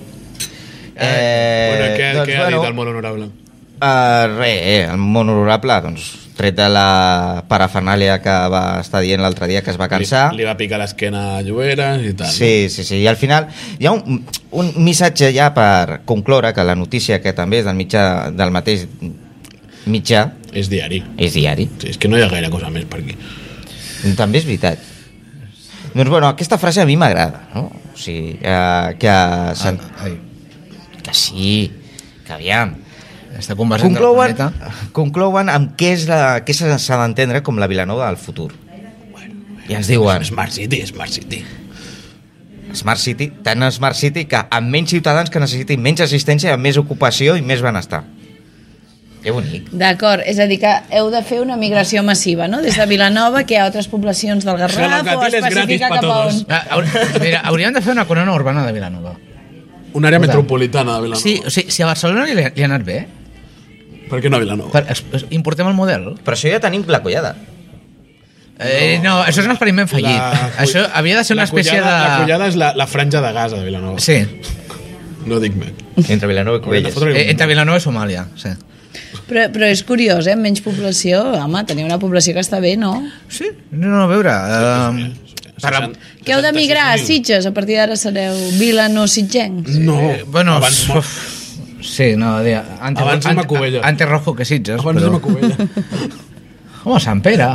Speaker 1: eh, bueno, què,
Speaker 2: Eh,
Speaker 1: doncs,
Speaker 2: doncs,
Speaker 1: què ha
Speaker 2: bueno,
Speaker 1: dit el molt honorable?
Speaker 2: Eh, res, eh, el món honorable, doncs, tret de la parafernàlia que va estar dient l'altre dia que es va cansar.
Speaker 1: Li, li va picar l'esquena a Lloberes i tal.
Speaker 2: Sí, sí, sí. I al final hi ha un, un missatge ja per concloure que la notícia que també és del mitjà del mateix mitjà
Speaker 1: És diari.
Speaker 2: és diari.
Speaker 1: Sí, és que no hi ha gaire cosa més per aquí.
Speaker 2: També és veritat. Doncs bueno, aquesta frase a mi m'agrada, no? O sigui, eh, que,
Speaker 3: Ah,
Speaker 2: sen-
Speaker 3: ai.
Speaker 2: que sí, que aviam.
Speaker 3: Està conversant
Speaker 2: Conclouen,
Speaker 3: de la
Speaker 2: conclouen amb què és la- què se- s'ha d'entendre com la Vilanova del futur. I ens diuen
Speaker 1: Smart City, Smart City.
Speaker 2: Smart City, tan Smart City que amb menys ciutadans que necessitin menys assistència, amb més ocupació i més benestar. Que bonic.
Speaker 4: D'acord, és a dir que heu de fer una migració massiva, no? Des de Vilanova, que hi ha altres poblacions del Garraf, o
Speaker 1: Gelocatiles gratis
Speaker 4: especifica
Speaker 1: pa
Speaker 4: cap a
Speaker 1: todos.
Speaker 4: on.
Speaker 3: Ah, haur- Mira, hauríem de fer una corona urbana de Vilanova.
Speaker 1: Una àrea
Speaker 3: Escolta.
Speaker 1: metropolitana de Vilanova.
Speaker 3: Sí, o sigui, si a Barcelona li, li ha anat bé,
Speaker 1: Per què no a Vilanova?
Speaker 3: per, es- es- importem el model.
Speaker 2: Però això ja tenim la collada.
Speaker 3: Eh, no, això és un experiment fallit.
Speaker 1: Oh. La-
Speaker 3: Això havia de ser una
Speaker 1: la
Speaker 3: espècie
Speaker 1: collada, La
Speaker 3: de...
Speaker 1: collada és la, la franja de Gaza de Vilanova.
Speaker 3: Sí,
Speaker 1: No dic més.
Speaker 2: Entre Vilanova i
Speaker 1: Haurem de
Speaker 2: Covelles.
Speaker 1: fotre-
Speaker 3: eh, entre Vilanova i Somàlia. Sí.
Speaker 4: Però, però és curiós, eh? Menys població, home, tenir una població que està bé, no?
Speaker 3: Sí, no, no, a veure... Eh, per la,
Speaker 4: Que heu de migrar a Sitges, a partir d'ara sereu Vilanositgencs.
Speaker 1: No,
Speaker 3: eh, bueno,
Speaker 1: abans,
Speaker 3: uf,
Speaker 1: abans,
Speaker 3: sí, no, dia, antes,
Speaker 1: Abans anem a Cubelles.
Speaker 3: Antes rojo que Sitges.
Speaker 1: abans de Macovella.
Speaker 3: Home, Sant Pere.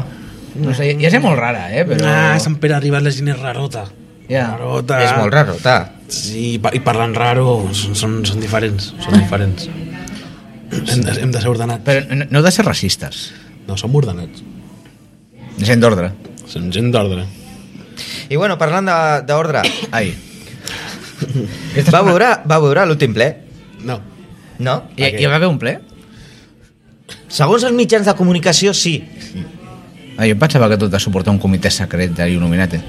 Speaker 3: No sé, ja sé molt rara, eh? Però...
Speaker 1: Ah, Pere arribat la gent és rarota.
Speaker 3: Ja.
Speaker 1: Rarota.
Speaker 2: És molt raro, ta.
Speaker 1: Sí, i pa- i parlant raro, són, són diferents.
Speaker 3: Ah.
Speaker 1: Són diferents. Hem de, hem de ser ordenats.
Speaker 3: Però no, no heu de ser racistes.
Speaker 1: No, som ordenats.
Speaker 3: Gent d'ordre.
Speaker 1: Som gent d'ordre.
Speaker 2: I bueno, parlant de- d'ordre,
Speaker 3: Ai.
Speaker 2: va veure, va veure l'últim ple,
Speaker 1: No.
Speaker 2: no?
Speaker 3: Hi, hi va haver un ple?
Speaker 2: Segons els mitjans de comunicació, sí.
Speaker 3: Ah, jo em pensava que tot de suportar un comitè secret de Illuminati.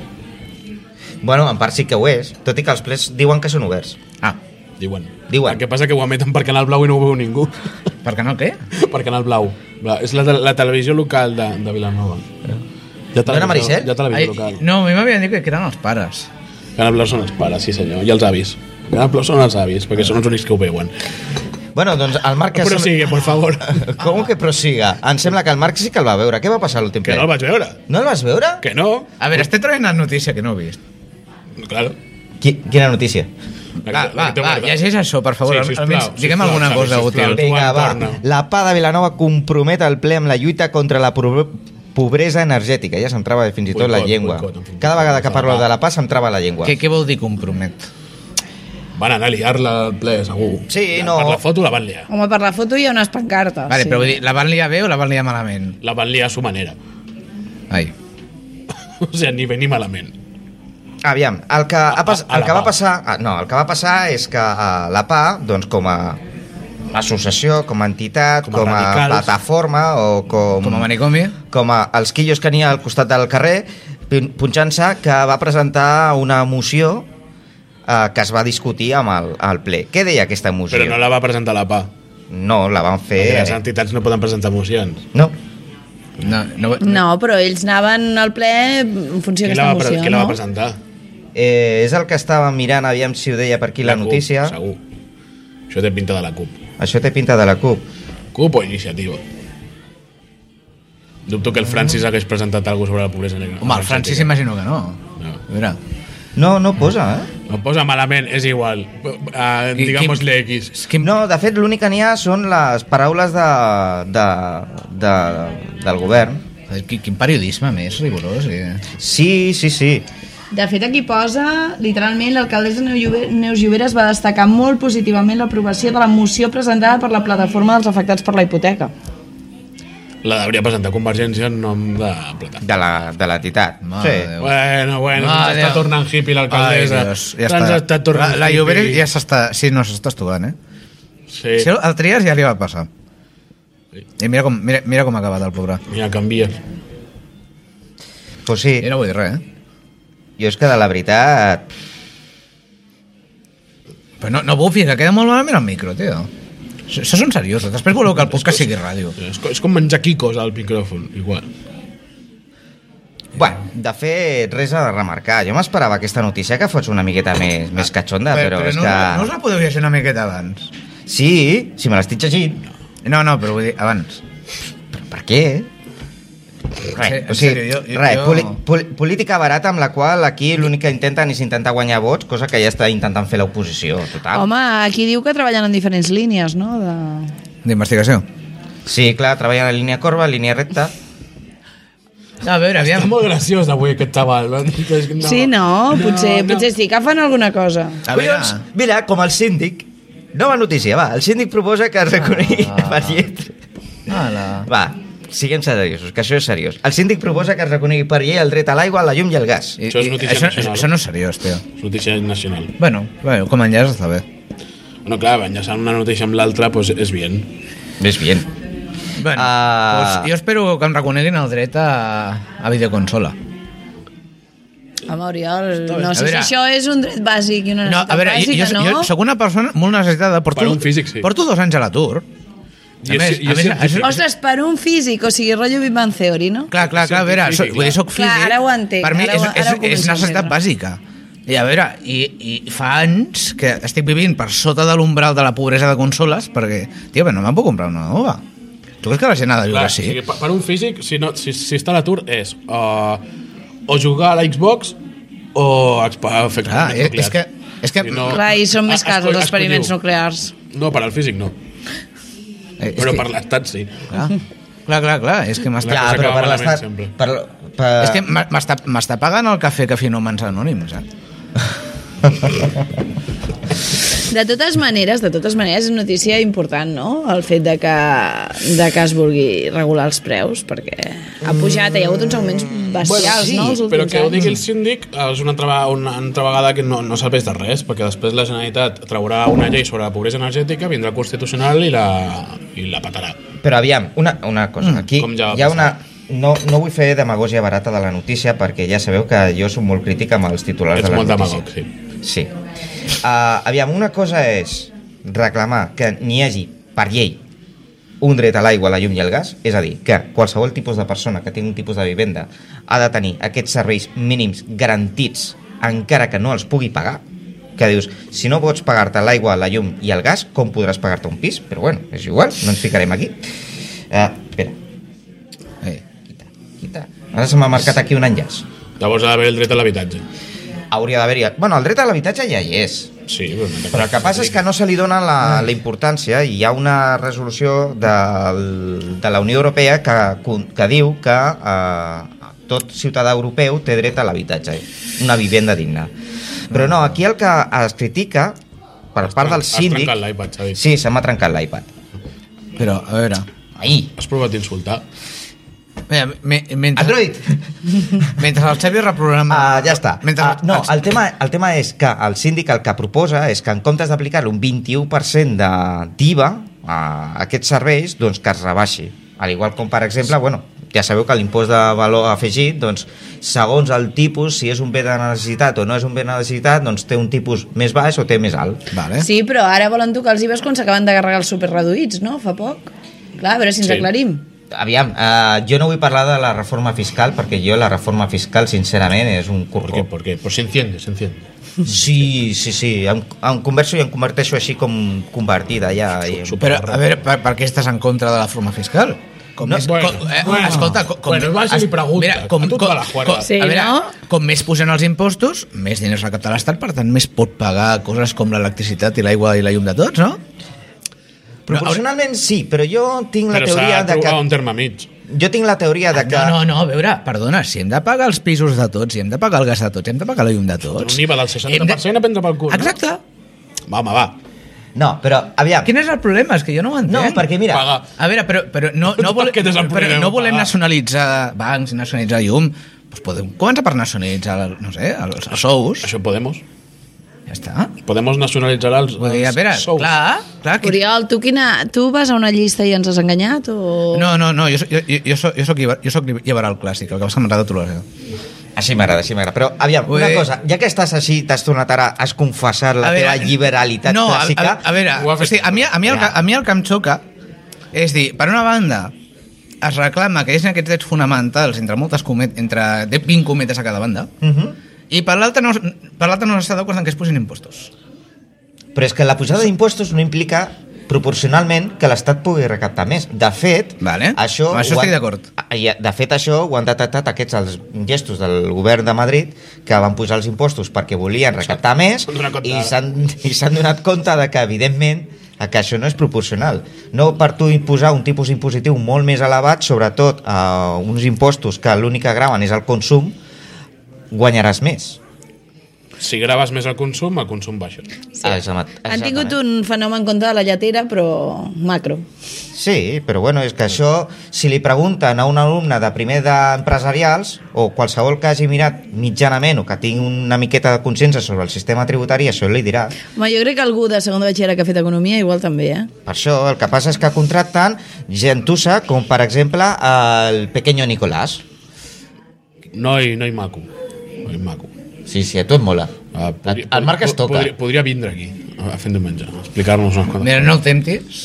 Speaker 2: Bueno, en part sí que ho és, tot i que els plens diuen que són oberts.
Speaker 3: Ah,
Speaker 1: Diuen.
Speaker 2: Diuen.
Speaker 1: El que passa que ho emeten per Canal Blau i no ho veu ningú.
Speaker 3: per què no, què?
Speaker 1: per Canal Blau. Bla- És la, te- la televisió local de, de Vilanova. Ja
Speaker 2: No era Maricel?
Speaker 1: Ja televisió
Speaker 3: Eh. Ai,
Speaker 1: local.
Speaker 3: no, a mi m'havien dit que eren els pares.
Speaker 1: Canal Blau són els pares, sí senyor, i els avis. Canal Blau són els avis,
Speaker 3: Ah.
Speaker 1: perquè són els únics que ho veuen.
Speaker 2: Bueno, doncs el Marc... que
Speaker 1: Però
Speaker 2: sem-
Speaker 1: sigue, por favor.
Speaker 2: Com que prosiga? Em sembla que el Marc sí que el va veure. Què va passar a l'últim
Speaker 1: Que
Speaker 2: ple?
Speaker 1: no el vaig veure.
Speaker 2: No el vas veure?
Speaker 1: Que no.
Speaker 3: A veure, estic traient una notícia que no he vist.
Speaker 1: Claro.
Speaker 2: Qui, quina notícia?
Speaker 3: Va, va, va, llegeix això, per favor.
Speaker 1: Sí, sisplau,
Speaker 3: almenys
Speaker 1: sisplau,
Speaker 3: diguem alguna
Speaker 1: Xavi,
Speaker 3: cosa
Speaker 1: sisplau.
Speaker 3: útil.
Speaker 2: Vinga,
Speaker 1: Joan
Speaker 2: va.
Speaker 1: Torna.
Speaker 2: La PA de Vilanova compromet el ple amb la lluita contra la pro- pobresa energètica. Ja se'm trava fins i tot la
Speaker 1: Boicot,
Speaker 2: llengua.
Speaker 1: boicot, en fi.
Speaker 2: Cada vegada que parlo de la PA se'm trava la llengua.
Speaker 3: Què, què vol dir compromet?
Speaker 1: Van anar a liar-la al ple, segur.
Speaker 2: Sí,
Speaker 1: la,
Speaker 2: no.
Speaker 1: Per la foto la van liar.
Speaker 4: Home, per la foto hi ha unes pancartes.
Speaker 3: Vale, però vull dir, la van liar bé o la van liar malament?
Speaker 1: La van liar a su manera.
Speaker 3: Ai.
Speaker 1: O sigui, ni bé ni malament.
Speaker 2: Aviam, el que, ha pas,
Speaker 1: A- a
Speaker 2: el
Speaker 1: la
Speaker 2: que va
Speaker 1: PA.
Speaker 2: passar... ah, No, el que va passar és que eh, la PA, doncs com a associació, com a entitat,
Speaker 1: Com
Speaker 2: com
Speaker 1: a
Speaker 2: a,
Speaker 1: radicals.
Speaker 2: plataforma o com...
Speaker 3: Com a manicomi?
Speaker 2: com a, els quillos que n'hi ha al costat del carrer pin- punxant-se que va presentar una moció eh, que es va discutir amb el, el ple. Què deia aquesta moció?
Speaker 1: Però no la va presentar la PA.
Speaker 2: no, la van
Speaker 3: Eh.
Speaker 2: fer... eh,
Speaker 1: Perquè les entitats no poden presentar mocions.
Speaker 2: No,
Speaker 3: No, no,
Speaker 4: No, però ells anaven al ple en funció
Speaker 1: Qui
Speaker 4: d'aquesta
Speaker 1: la, va,
Speaker 4: moció,
Speaker 1: pre- qui la va
Speaker 4: no?
Speaker 1: presentar?
Speaker 2: eh, és el que estava mirant, aviam si ho deia per aquí la,
Speaker 1: CUP,
Speaker 2: notícia.
Speaker 1: Segur. Això té pinta de la CUP.
Speaker 2: Això té pinta de la CUP.
Speaker 1: CUP o iniciativa? Dubto que el Francis hagués presentat alguna sobre la pobresa negra.
Speaker 3: Mm. Home, el Francis imagino que no.
Speaker 1: No.
Speaker 3: A veure,
Speaker 2: No, no posa, eh?
Speaker 1: Em posa malament, és igual. Uh,
Speaker 3: Qui-
Speaker 1: Digamos-le X.
Speaker 3: és que no.
Speaker 2: No, de fet, l'únic que n'hi ha són les paraules de, de, de, del govern.
Speaker 3: Quin, quin periodisme més rigorós. Eh?
Speaker 2: Sí, sí, sí.
Speaker 4: De fet, aquí posa, literalment, l'alcaldessa Neu Llobe- Neus Lloberes va destacar molt positivament l'aprovació de la moció presentada per la plataforma dels afectats per la hipoteca.
Speaker 1: la devia presentar Convergència en nom de Plata.
Speaker 2: de la- de l'entitat.
Speaker 3: Mare de
Speaker 2: Sí.
Speaker 3: Déu.
Speaker 1: Bueno, bueno,
Speaker 3: Ah,
Speaker 1: ens està
Speaker 3: Déu.
Speaker 1: tornant hippie l'alcaldessa.
Speaker 3: ja
Speaker 1: ens
Speaker 3: està.
Speaker 1: està tornant
Speaker 3: La, la
Speaker 1: hippie.
Speaker 3: Llobera ja s'està... Sí, no, s'està estovant, eh?
Speaker 1: Sí,
Speaker 3: Sí. El Trias ja li va passar. I mira com, mira, mira com ha acabat el pobre.
Speaker 1: mira, canvia.
Speaker 2: Pues sí,
Speaker 3: Jo no vull dir res, eh?
Speaker 2: jo és que de la veritat...
Speaker 3: Però no, no bufis, que queda molt malament el micro, tio. Això això són seriosos. Després voleu que el podcast sigui ràdio.
Speaker 1: És, co- és com menjar quicos al micròfon, igual.
Speaker 2: Bueno, de fet, res a remarcar. Jo m'esperava aquesta notícia que fos una miqueta més, més catxonda, però, és
Speaker 3: no,
Speaker 2: que...
Speaker 3: no us la podeu llegir una miqueta abans?
Speaker 2: Sí, si me l'estic llegint.
Speaker 3: No, no, però vull dir, abans.
Speaker 2: Però per què? Res,
Speaker 3: en
Speaker 2: o sigui,
Speaker 3: sèrio, jo- jo-
Speaker 2: res,
Speaker 3: jo-
Speaker 2: poli, poli, política barata amb la qual aquí l'únic que intenten és intentar guanyar vots, cosa que ja està intentant fer l'oposició,
Speaker 3: Ah.
Speaker 2: total.
Speaker 4: Home, aquí diu que treballen en diferents línies, no? De...
Speaker 3: D'investigació.
Speaker 2: Sí, clar, treballen en línia corba, línia recta.
Speaker 3: No, a veure,
Speaker 1: És
Speaker 3: aviam.
Speaker 1: molt graciós avui aquest xaval. No.
Speaker 4: No, sí, no, potser, no. potser sí que fan alguna cosa.
Speaker 3: A veure,
Speaker 2: mira, com el síndic, nova notícia, va, el síndic proposa que es reconegui ah. per llet.
Speaker 3: Hola.
Speaker 2: Va, siguem seriosos, que això és seriós. El síndic proposa que es reconegui per llei el dret a l'aigua, la llum i el gas.
Speaker 1: Això és notícia
Speaker 3: això,
Speaker 1: nacional. eh?
Speaker 3: això no és seriós, tio.
Speaker 1: Notícia nacional.
Speaker 3: Bueno, bueno com a enllaç està bé.
Speaker 1: No, clar, enllaçant una notícia amb l'altra pues, és bien.
Speaker 2: Més bien.
Speaker 3: Bueno,
Speaker 2: Ah.
Speaker 3: doncs jo espero que em reconeguin el dret a, a videoconsola.
Speaker 4: Home, Oriol, no sé
Speaker 3: A
Speaker 4: si
Speaker 3: veure.
Speaker 4: això és un dret bàsic i una
Speaker 3: No,
Speaker 4: necessitat
Speaker 3: a veure, jo,
Speaker 4: bàsica,
Speaker 3: jo,
Speaker 4: no?
Speaker 3: jo sóc una persona molt necessitada. Porto,
Speaker 1: Per un físic, sí.
Speaker 3: Porto dos anys a l'atur. A
Speaker 1: I és-
Speaker 3: més,
Speaker 1: i és
Speaker 3: a més,
Speaker 1: científic.
Speaker 3: això-
Speaker 4: Ostres, per un físic, o sigui, rotllo Big Bang Theory, no?
Speaker 3: Clar, clar, clar, a veure,
Speaker 1: Científic,
Speaker 3: soc, vull dir, soc
Speaker 4: clar.
Speaker 3: físic.
Speaker 4: Clar, ara ho entenc,
Speaker 3: Per mi
Speaker 4: ara ho-
Speaker 3: és,
Speaker 4: ara
Speaker 3: és,
Speaker 4: ho començo
Speaker 3: és
Speaker 4: a
Speaker 3: una necessitat
Speaker 4: entendre.
Speaker 3: bàsica. I a veure, i, i fa anys que estic vivint per sota de l'umbral de la pobresa de consoles perquè, tio, bé, no me'n puc comprar una nova. Tu creus que la gent ha de viure
Speaker 1: Clar,
Speaker 3: així?
Speaker 1: o sigui, per, per un físic, si, no, si, si està a l'atur, és uh, o jugar a la Xbox o expa- fer
Speaker 3: Clar,
Speaker 1: experiments
Speaker 3: és- Ah,
Speaker 2: eh,
Speaker 3: eh, és
Speaker 1: nuclears.
Speaker 3: que- és que-
Speaker 1: Oh,
Speaker 4: Clar, i són més
Speaker 1: es-
Speaker 4: casos
Speaker 1: escolliu.
Speaker 4: els experiments nuclears.
Speaker 1: No, per al físic no,
Speaker 3: Eh, és
Speaker 1: però
Speaker 3: que,
Speaker 1: per l'estat sí.
Speaker 3: clar, clar, clar, clar, és que m'està...
Speaker 1: Clar,
Speaker 2: Ja,
Speaker 1: cosa
Speaker 2: però
Speaker 1: acaba
Speaker 2: per
Speaker 1: malament
Speaker 2: l'estat...
Speaker 1: sempre.
Speaker 2: Per, per...
Speaker 3: És que m'ha- m'està m'està pagant el cafè que finomens anònims, eh?
Speaker 4: De totes maneres, de totes maneres, és notícia important, no? El fet de que, de que es vulgui regular els preus, perquè ha pujat, hi ha hagut uns augments bestials, no? Els últims
Speaker 1: Mm. però que ho
Speaker 4: anys.
Speaker 1: digui el síndic és una altra, vegada- una altra vegada que no, no serveix de res, perquè després la Generalitat traurà una llei sobre la pobresa energètica, vindrà al Constitucional i la, i la patarà.
Speaker 2: Però aviam, una, una cosa, mm, aquí
Speaker 1: com ja va
Speaker 2: hi ha
Speaker 1: passar.
Speaker 2: una... No, no vull fer demagògia barata de la notícia perquè ja sabeu que jo sóc molt crític amb els titulars
Speaker 1: Ets
Speaker 2: de la
Speaker 1: molt
Speaker 2: notícia.
Speaker 1: demagog, sí.
Speaker 2: Sí. Uh, aviam, una cosa és reclamar que n'hi hagi, per llei, un dret a l'aigua, la llum i el gas, és a dir, que qualsevol tipus de persona que tingui un tipus de vivenda ha de tenir aquests serveis mínims garantits encara que no els pugui pagar, que dius, si no pots pagar-te l'aigua, la llum i el gas, com podràs pagar-te un pis? Però bueno, és igual, no ens ficarem aquí. Uh, espera,
Speaker 3: Eh,
Speaker 2: quita, quita. Ara se m'ha marcat aquí un enllaç.
Speaker 1: Llavors ha d'haver el dret a l'habitatge.
Speaker 2: Hauria d'haver-hi... Bueno, el dret a l'habitatge ja hi és,
Speaker 1: Sí, però, no
Speaker 2: Però el que passa és que no se li dona la, la importància i hi ha una resolució de, de la Unió Europea que, con- que diu que eh, tot ciutadà europeu té dret a l'habitatge, una vivenda digna. Però no, aquí el que es critica per part del
Speaker 1: Has
Speaker 2: síndic...
Speaker 1: trencat l'iPad, Xavi.
Speaker 2: Sí, se m'ha trencat l'iPad.
Speaker 3: però, a veure...
Speaker 2: Ahir.
Speaker 1: Has provat d'insultar.
Speaker 3: Mira, me, mentre,
Speaker 1: Ah.
Speaker 2: Android!
Speaker 3: mentre el Xavi reprograma...
Speaker 2: Ah, ja està.
Speaker 3: Mentre,
Speaker 2: ah, no, el tema, el tema és que el síndic el que proposa és que en comptes d'aplicar un 21% de d'IVA a aquests serveis, doncs que es rebaixi. Al igual com, per exemple, bueno, ja sabeu que l'impost de valor afegit, doncs, segons el tipus, si és un bé de necessitat o no és un bé de necessitat, doncs té un tipus més baix o té més alt.
Speaker 1: eh?
Speaker 3: Vale.
Speaker 4: Sí, però ara volen tocar els IVAs quan s'acaben de carregar els superreduïts, no? Fa poc. Clar, a veure si ens
Speaker 1: Sí.
Speaker 4: sí. aclarim.
Speaker 2: Aviam, eh, jo no vull parlar de la reforma fiscal, perquè jo la reforma fiscal, sincerament, és un
Speaker 1: ¿Por qué?
Speaker 2: corcó.
Speaker 1: ¿Por qué? Pues se enciende, se enciende.
Speaker 2: Sí, sí, sí, em, em converso i em converteixo així com convertida, ja. i-
Speaker 3: Però, a veure, per, per què estàs en contra de la forma fiscal? Com
Speaker 1: No,
Speaker 3: més,
Speaker 1: bueno,
Speaker 3: com, eh,
Speaker 1: bueno.
Speaker 3: escolta, com, com
Speaker 1: Bueno, vas i
Speaker 3: es-
Speaker 1: li preguntes.
Speaker 3: Mira, com,
Speaker 1: A tu
Speaker 3: com,
Speaker 1: te la juegas.
Speaker 3: com,
Speaker 4: Sí,
Speaker 3: a veure,
Speaker 4: no?
Speaker 3: com més pugen els impostos, més diners recapta l'Estat, per tant, més pot pagar coses com l'electricitat i l'aigua i la llum de tots, no?
Speaker 2: Proporcionalment sí, però jo tinc la
Speaker 1: Però
Speaker 2: teoria
Speaker 1: s'ha de
Speaker 2: de que...
Speaker 1: trobar un terme mig.
Speaker 2: Jo tinc la teoria de que...
Speaker 3: Ah, No, no, no, a veure, perdona, si hem de pagar els pisos de tots, si hem de pagar el gas de tots, si Doncs hem de pagar la llum de tots...
Speaker 1: Un IVA del
Speaker 3: hem
Speaker 1: 60% a prendre pel cul.
Speaker 3: Exacte.
Speaker 1: No? Va, home, va.
Speaker 2: No, però, aviam...
Speaker 3: Quin és el problema? És que jo no ho entenc.
Speaker 2: No, perquè mira...
Speaker 1: Paga.
Speaker 3: A veure, però, però no, no, vole...
Speaker 1: Aquest és el
Speaker 3: però
Speaker 1: problema,
Speaker 3: no volem
Speaker 1: pagar.
Speaker 3: nacionalitzar bancs i nacionalitzar llum. Pues podem començar per nacionalitzar, el- no sé, els, els sous.
Speaker 1: Això Podemos.
Speaker 3: Ja està.
Speaker 1: Podemos nacionalitzarà els,
Speaker 3: Vull dir, a veure,
Speaker 1: els sous.
Speaker 3: clar,
Speaker 1: Ah,
Speaker 3: clar... Que...
Speaker 4: Oriol, tu, quina, tu vas a una llista i ens has enganyat? O...
Speaker 3: No, no, no, jo, so- jo, jo, soc, jo, soc, lliber- jo soc liberal clàssic, el que passa que m'agrada tolerar.
Speaker 2: Així Ah, m'agrada, així m'agrada. Però, aviam,
Speaker 3: Ui.
Speaker 2: una cosa, ja que estàs així, t'has tornat ara a confessar la teva liberalitat
Speaker 3: eh, no, a-
Speaker 2: clàssica...
Speaker 3: A, a, veure,
Speaker 1: Ho ha
Speaker 3: o
Speaker 1: fet
Speaker 3: sigui, a, mi, a, mi el, que- a mi el que em xoca és dir, per una banda, es reclama que hi hagi aquests drets fonamentals entre moltes comet, entre 20 cometes a cada banda,
Speaker 2: Mhm.
Speaker 3: i per l'altra no, es- per l'altra no s'està d'acord en que es posin impostos.
Speaker 2: Però és que la pujada d'impostos no implica proporcionalment que l'Estat pugui recaptar més. De fet,
Speaker 3: Vale.
Speaker 2: això...
Speaker 3: Amb això
Speaker 2: ho han-
Speaker 3: estic d'acord.
Speaker 2: Ah, ja, De fet, això ho han detectat aquests els gestos del govern de Madrid que van posar els impostos perquè volien recaptar més
Speaker 1: s'han donat
Speaker 2: i
Speaker 1: compte.
Speaker 2: s'han i s'han donat compte de que, evidentment, eh, que això no és proporcional. No per tu imposar un tipus impositiu molt més elevat, sobretot a uns impostos que l'únic que graven és el consum, guanyaràs més.
Speaker 1: Si graves més el consum, el consum baixa.
Speaker 2: Sí.
Speaker 4: Han tingut un fenomen en contra de la lletera, però macro.
Speaker 2: Sí, però bueno, és que això, si li pregunten a un alumne de primer d'empresarials, o qualsevol que hagi mirat mitjanament o que tingui una miqueta de consciència sobre el sistema tributari, això li dirà.
Speaker 4: Home, jo crec que algú de segon de batxillerat que ha fet economia igual també, eh?
Speaker 2: Per això, el que passa és que contracten gentussa, com per exemple el pequeño Nicolás.
Speaker 1: Noi, noi maco. Noi maco.
Speaker 2: Sí, sí, a tu et mola.
Speaker 1: Ah,
Speaker 2: el, el Marc es
Speaker 1: po-
Speaker 2: toca.
Speaker 1: Podria, podria vindre aquí a fer un diumenge, a explicar-nos unes coses.
Speaker 3: Mira, no el temptis.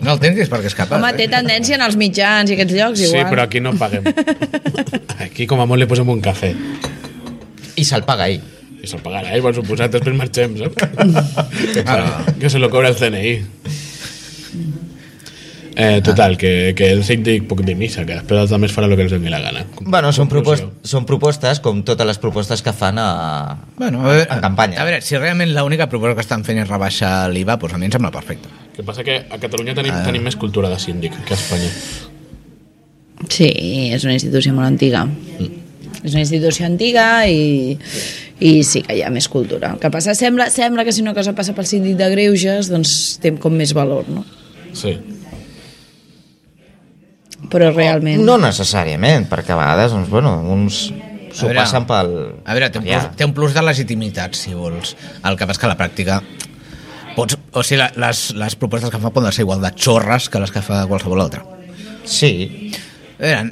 Speaker 3: No el temptis perquè és capaç. eh?
Speaker 4: Home, té tendència en els mitjans i aquests llocs,
Speaker 1: Sí,
Speaker 4: igual.
Speaker 1: però aquí no paguem. Aquí com a molt li posem un cafè.
Speaker 2: I se'l paga ell.
Speaker 1: I se'l pagarà, eh? per suposat, després marxem, saps? Ah. Que se lo cobra el CNI. Eh, total, que, que el síndic puc dir missa, que després els altres farà el que els doni la gana.
Speaker 2: Bueno, són, propost
Speaker 1: Conclusió.
Speaker 2: són propostes com totes les propostes que fan a...
Speaker 3: Bueno, a veure,
Speaker 2: En campanya.
Speaker 3: A veure, si realment l'única proposta que estan fent és rebaixar l'IVA, doncs a mi em sembla perfecte.
Speaker 1: El que passa que a Catalunya tenim, tenim més cultura de síndic que a Espanya.
Speaker 4: Sí, és una institució molt antiga. És una institució antiga i, i sí que hi ha més cultura. El que passa, sembla, sembla que si una cosa passa pel síndic de greuges, doncs té com més valor, no?
Speaker 1: Sí.
Speaker 4: Però realment...
Speaker 2: Oh, No necessàriament, perquè a vegades, doncs, bueno, uns
Speaker 3: A
Speaker 2: s'ho
Speaker 3: veure,
Speaker 2: passen pel...
Speaker 3: A veure, té un,
Speaker 2: per allà.
Speaker 3: plus, té un plus de legitimitat, si vols. El que passa és que a la pràctica pots, o sigui, la- les, les propostes que fa poden ser igual de xorres que les que fa qualsevol altra.
Speaker 2: Sí,
Speaker 3: A veure,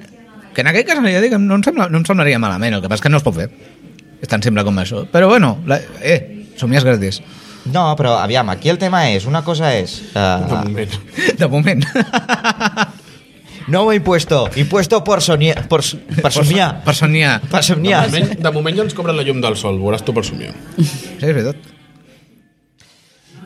Speaker 3: que en aquell cas ja dic, no, em sembla, no em semblaria malament, el que passa és que no es pot fer. És tan simple com això. Però bueno, la, eh, somies gratis.
Speaker 2: no, però aviam, aquí el tema és, una cosa és...
Speaker 1: De
Speaker 2: Eh,
Speaker 1: moment.
Speaker 3: De moment.
Speaker 2: no impuesto, impuesto por soñar, por, s- per somiar,
Speaker 3: Per somiar.
Speaker 2: per
Speaker 1: De
Speaker 2: somiar.
Speaker 1: moment, de moment ja ens cobren la llum del sol, veuràs tu per somiar.
Speaker 3: Sí, és veritat.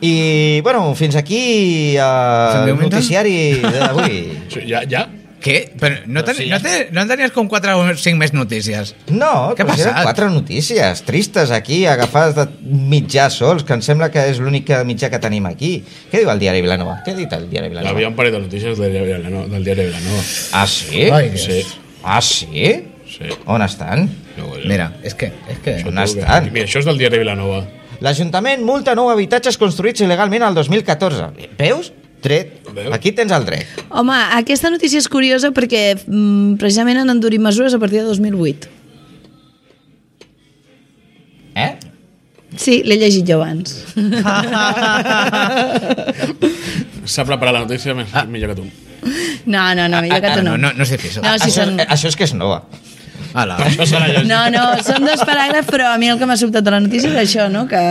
Speaker 2: I, bueno, fins aquí eh,
Speaker 3: Se'n diu
Speaker 2: el
Speaker 3: mental?
Speaker 2: noticiari d'avui.
Speaker 1: Sí, Ja, ja?
Speaker 3: Què? Però no, ten,
Speaker 1: sí,
Speaker 3: no,
Speaker 1: ja
Speaker 3: ten, no en tenies com 4 o 5 més notícies?
Speaker 2: No,
Speaker 3: Què ha
Speaker 2: però si eren
Speaker 3: passat?
Speaker 2: quatre notícies tristes aquí, agafades de mitjà sols, que em sembla que és l'únic que- mitjà que tenim aquí. Què diu el diari Vilanova? Què ha dit el diari
Speaker 1: Hi
Speaker 2: Vilanova?
Speaker 1: havia un parell de notícies del diari Vilanova. Del diari Vilanova.
Speaker 2: Ah, sí?
Speaker 1: Sí,
Speaker 2: Ah, sí?
Speaker 1: sí.
Speaker 2: On estan?
Speaker 1: No, jo-
Speaker 3: Mira, és que... És que...
Speaker 1: Això
Speaker 2: on
Speaker 1: tu,
Speaker 2: estan?
Speaker 1: que- Mira, això és del diari Vilanova.
Speaker 2: L'Ajuntament multa nou habitatges construïts il·legalment al 2014. Veus? Tret.
Speaker 1: Veus?
Speaker 2: Aquí tens el dret.
Speaker 4: Home, aquesta notícia és curiosa perquè mm, precisament han endurit mesures a partir de 2008.
Speaker 2: Eh?
Speaker 4: Sí, l'he llegit jo abans.
Speaker 1: S'ha preparat la notícia més, ah. millor que tu.
Speaker 4: No, no, no, millor que tu
Speaker 3: no,
Speaker 4: no.
Speaker 3: no, no sé què és.
Speaker 4: No, Ah, sí,
Speaker 2: això,
Speaker 4: són-
Speaker 2: això és que és nova.
Speaker 3: Ala.
Speaker 1: Per això serà llegit.
Speaker 4: No, no, són dos paràgrafs, però a mi el que m'ha sobtat de la notícia és això, no? que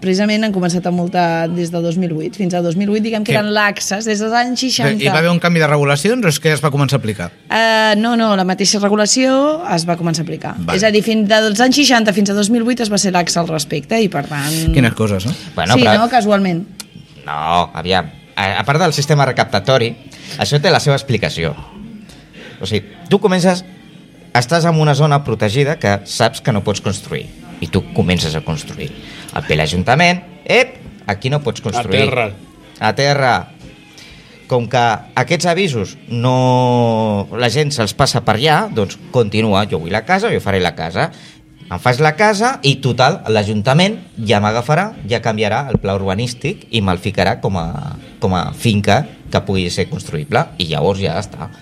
Speaker 4: precisament han començat a multar des del 2008 fins al 2008, diguem que
Speaker 3: Sí.
Speaker 4: eren laxes, des dels anys 60.
Speaker 3: I va haver un canvi de regulacions o és que es va començar a aplicar?
Speaker 4: Eh, no, no, la mateixa regulació es va començar a aplicar.
Speaker 3: Vale.
Speaker 4: És a dir, fins de dels anys 60 fins a 2008 es va ser laxa al respecte i per tant...
Speaker 3: Quines coses, no?
Speaker 2: Bueno,
Speaker 4: sí,
Speaker 2: però...
Speaker 4: no? Casualment.
Speaker 2: No, aviam. A, a part del sistema recaptatori, això té la seva explicació. O sigui, tu comences... Estàs en una zona protegida que saps que no pots construir. I tu comences a construir. Et ve l'Ajuntament, ep, aquí no pots construir.
Speaker 1: A terra.
Speaker 2: A terra. Com que aquests avisos no... la gent se'ls passa per allà, doncs continua, jo vull la casa, jo faré la casa. Em fas la casa i, total, l'Ajuntament ja m'agafarà, ja canviarà el pla urbanístic i me'l ficarà com a, com a finca que pugui ser construïble i llavors ja està.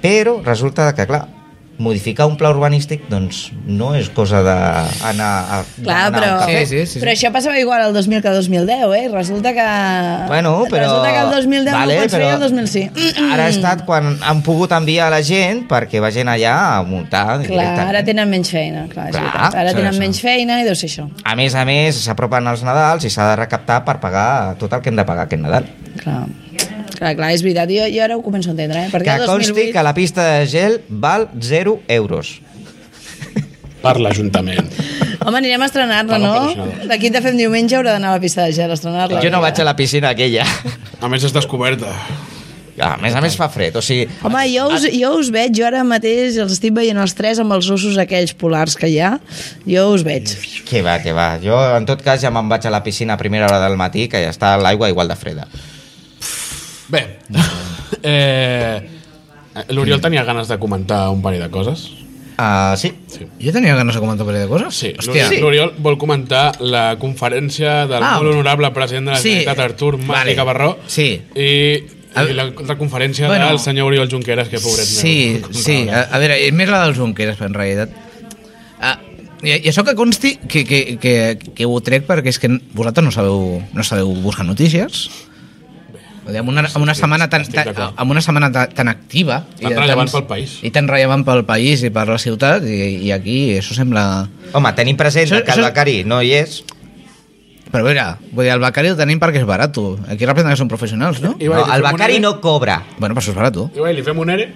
Speaker 2: Però resulta que, clar, modificar un pla urbanístic doncs no és cosa d'anar a,
Speaker 4: Clar,
Speaker 2: d'anar
Speaker 4: però,
Speaker 2: a un cafè.
Speaker 3: Sí, sí, sí, sí.
Speaker 4: però això passava igual el 2000 que el 2010, eh? I Resulta que...
Speaker 2: Bueno, però...
Speaker 4: Ah. Resulta que el 2010 vale, no pots fer i el 2000 sí.
Speaker 2: Ara ha estat quan han pogut enviar la gent perquè vagin allà a muntar
Speaker 4: Clar,
Speaker 2: directament.
Speaker 4: ara tenen menys feina, clar, és
Speaker 2: Clar,
Speaker 4: veritat. Ara
Speaker 3: sí,
Speaker 4: tenen
Speaker 3: sí.
Speaker 4: menys feina i deu ser això.
Speaker 2: A més a més, s'apropen els Nadals i s'ha de recaptar per pagar tot el que hem de pagar aquest Nadal.
Speaker 4: Clar, clar, clar és veritat. Jo, jo ara ho començo a entendre, eh? Perquè
Speaker 2: Que
Speaker 4: el
Speaker 2: consti
Speaker 4: 2008...
Speaker 2: que la pista de gel val 0 euros.
Speaker 1: per l'Ajuntament.
Speaker 4: Home, anirem a estrenar-la,
Speaker 1: Bueno,
Speaker 4: no?
Speaker 1: patrocinador.
Speaker 4: D'aquí de fem diumenge haurà d'anar a la pista de gel a estrenar-la.
Speaker 2: Jo no vaig a la piscina aquella.
Speaker 1: A més, està descoberta.
Speaker 2: A més a més fa fred, o sigui...
Speaker 4: Home, jo us, jo us veig, jo ara mateix els estic veient els tres amb els ossos aquells polars que hi ha, jo us veig.
Speaker 2: Que va, que va. Jo, en tot cas, ja me'n vaig a la piscina a primera hora del matí, que ja està l'aigua igual de freda.
Speaker 1: Bé, eh, l'Oriol tenia ganes de comentar un parell de coses.
Speaker 2: Ah, sí.
Speaker 3: Jo tenia ganes de comentar un parell de coses?
Speaker 1: Sí,
Speaker 3: Hòstia.
Speaker 1: l'Oriol- l'Oriol vol comentar la conferència del
Speaker 3: Ah.
Speaker 1: molt honorable president de la
Speaker 3: Sí.
Speaker 1: Generalitat, Artur Mas
Speaker 3: Vale.
Speaker 1: i Cabarró,
Speaker 3: Sí.
Speaker 1: i,
Speaker 3: El-
Speaker 1: i la, la conferència
Speaker 3: Bueno.
Speaker 1: del senyor Oriol Junqueras, que pobret
Speaker 3: Sí,
Speaker 1: meu.
Speaker 3: sí. A, a veure, més la dels Junqueras, en realitat. Ah, i, I això que consti, que, que, que, que ho trec perquè és que vosaltres no sabeu, no sabeu buscar notícies. Vull dir, Amb una, amb una setmana tan,
Speaker 1: estic
Speaker 3: tan,
Speaker 1: d'acord.
Speaker 3: amb una setmana ta- tan activa
Speaker 1: Tan rellevant pel país.
Speaker 3: i tan rellevant pel país i per la ciutat i, i aquí això sembla
Speaker 2: Home, tenim present
Speaker 3: Això-
Speaker 2: que el
Speaker 3: això-
Speaker 2: becari no hi és.
Speaker 3: però a veure, vull dir, el becari el tenim perquè és barat aquí representa que són professionals, no?
Speaker 1: I va,
Speaker 2: No,
Speaker 1: i li
Speaker 2: el
Speaker 1: fem un
Speaker 2: becari
Speaker 1: ere.
Speaker 2: no cobra.
Speaker 3: bueno, però això és barat
Speaker 1: I va, i li fem un ere?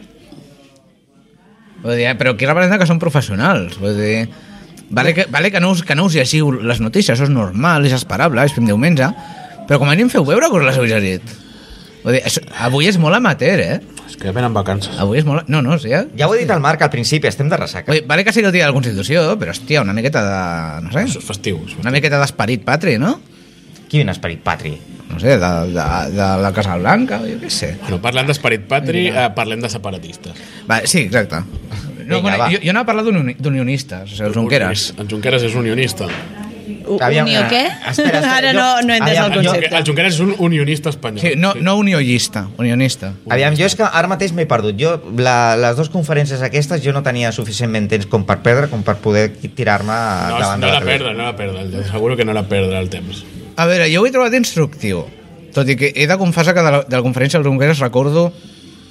Speaker 3: Vull dir, eh, però qui representa que són professionals? Vull dir, vale que, vale que, no us, que no us llegiu les notícies, això és normal, és esperable, és fem diumenge, però com a mínim feu veure que us les heu llegit. Vull dir, això, avui és molt amateur, eh?
Speaker 1: És que venen vacances.
Speaker 3: Avui és molt... No, no, o sigui...
Speaker 2: Ja ho he dit al Marc al principi, estem de ressaca.
Speaker 3: Vull dir, vale que sigui el dia de la Constitució, però, hòstia, una miqueta de... No
Speaker 1: És
Speaker 3: sé,
Speaker 1: festiu. és
Speaker 3: una miqueta d'esperit patri, no?
Speaker 2: Quin esperit patri.
Speaker 3: No sé, de, de, de la Casa Blanca, jo què sé.
Speaker 1: Bueno, parlant d'esperit patri, eh, parlem de separatistes.
Speaker 3: Va, sí, exacte. No,
Speaker 2: Vinga,
Speaker 3: bueno,
Speaker 2: va.
Speaker 3: jo, jo anava a parlar d'uni- d'unionistes, o sigui, els Junqueras.
Speaker 1: El Junqueras és unionista.
Speaker 2: Aviam,
Speaker 4: Unió
Speaker 2: eh,
Speaker 4: què?
Speaker 2: espera, espera,
Speaker 4: Ara
Speaker 2: jo-
Speaker 4: no, no he entès
Speaker 1: El,
Speaker 2: aviam,
Speaker 4: el
Speaker 1: Junque-
Speaker 4: concepte.
Speaker 1: el Junqueras és un unionista espanyol.
Speaker 3: Sí, no, no uniollista, unionista.
Speaker 2: Aviam, jo és que ara mateix m'he perdut. Jo, la, les dues conferències aquestes jo no tenia suficientment temps com per perdre, com per poder tirar-me
Speaker 1: No,
Speaker 2: davant
Speaker 1: no
Speaker 2: de
Speaker 1: la
Speaker 2: la tele.
Speaker 1: perdre, no la perdre. el- Seguro que no la perdre el temps.
Speaker 3: A veure, jo ho he trobat instructiu, tot i que he de confessar que de la, de la conferència del Junqueras recordo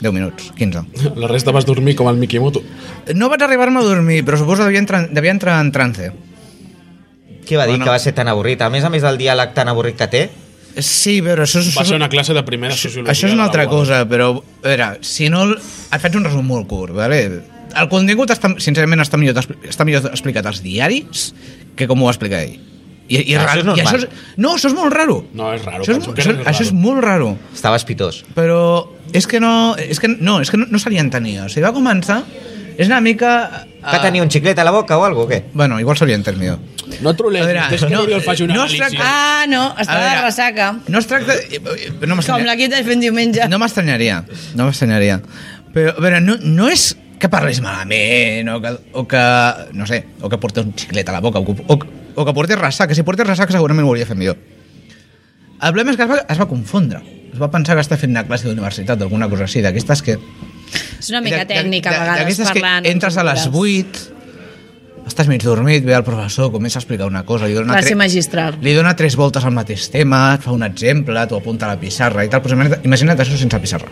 Speaker 3: 10 minuts, 15.
Speaker 1: La resta vas dormir com el Mikimoto.
Speaker 3: No vaig arribar-me a dormir, però suposo que devia entrar, devia entrar en trance.
Speaker 2: Què va dir
Speaker 3: Bueno.
Speaker 2: que va ser tan avorrit? A més a més del diàleg tan avorrit que té,
Speaker 3: Sí, però això és,
Speaker 1: Va ser una classe de primera sociologia.
Speaker 3: això és
Speaker 1: de la
Speaker 3: una altra
Speaker 1: UAD.
Speaker 3: cosa, però a veure, si no... el- Et faig un resum molt curt, vale? El contingut, està, sincerament, està millor, d'expli- està millor explicat als diaris que com ho va explicar ell. I, i,
Speaker 1: Ah,
Speaker 2: Això
Speaker 3: raro-
Speaker 2: és normal.
Speaker 3: i això és, no, això és molt raro.
Speaker 1: No, és raro,
Speaker 3: Això
Speaker 1: per
Speaker 3: és,
Speaker 1: Junqueras
Speaker 3: això,
Speaker 1: és
Speaker 3: és, això és
Speaker 1: raro.
Speaker 3: molt raro.
Speaker 2: estava espitós.
Speaker 3: però és que no, és que no, és que no, no se li entenia. O sigui, va començar, és una mica... eh,
Speaker 2: Que
Speaker 3: Ah.
Speaker 2: tenia un xiclet a la boca o alguna cosa, què?
Speaker 3: Bueno, igual se li entén millor.
Speaker 1: No trolem,
Speaker 3: A veure,
Speaker 1: deixa que
Speaker 3: no,
Speaker 1: l'Oriol faci una
Speaker 3: no
Speaker 1: no
Speaker 3: es
Speaker 1: anàlisi.
Speaker 3: tracta-
Speaker 4: Ah, no,
Speaker 3: A
Speaker 4: està de
Speaker 3: veure,
Speaker 4: ressaca.
Speaker 3: No es tracta... No
Speaker 4: Com
Speaker 3: m'estranyaria.
Speaker 4: l'equip de fent diumenge.
Speaker 3: No m'estranyaria. No m'estranyaria. Però, a veure, no, no és que parlis malament o que, o que, no sé, o que portes un xiclet a la boca o que, o, que- o que portes ressaca. Si portes ressaca segurament ho hauria fet millor. El problema és que es va, es va confondre. Es va pensar que està fent una classe d'universitat o alguna cosa així, d'aquestes que...
Speaker 4: És una mica
Speaker 3: De- de-
Speaker 4: tècnica,
Speaker 3: de-
Speaker 4: a vegades,
Speaker 3: d'aquestes que
Speaker 4: parlant.
Speaker 3: entres a les 8, estàs mig dormit, ve el professor, comença a explicar una cosa, li dona,
Speaker 4: Classe
Speaker 3: tre-
Speaker 4: magistral.
Speaker 3: li dona tres voltes al mateix tema, et fa un exemple, t'ho apunta a la pissarra i tal. Però imagina't- imagina't això sense pissarra.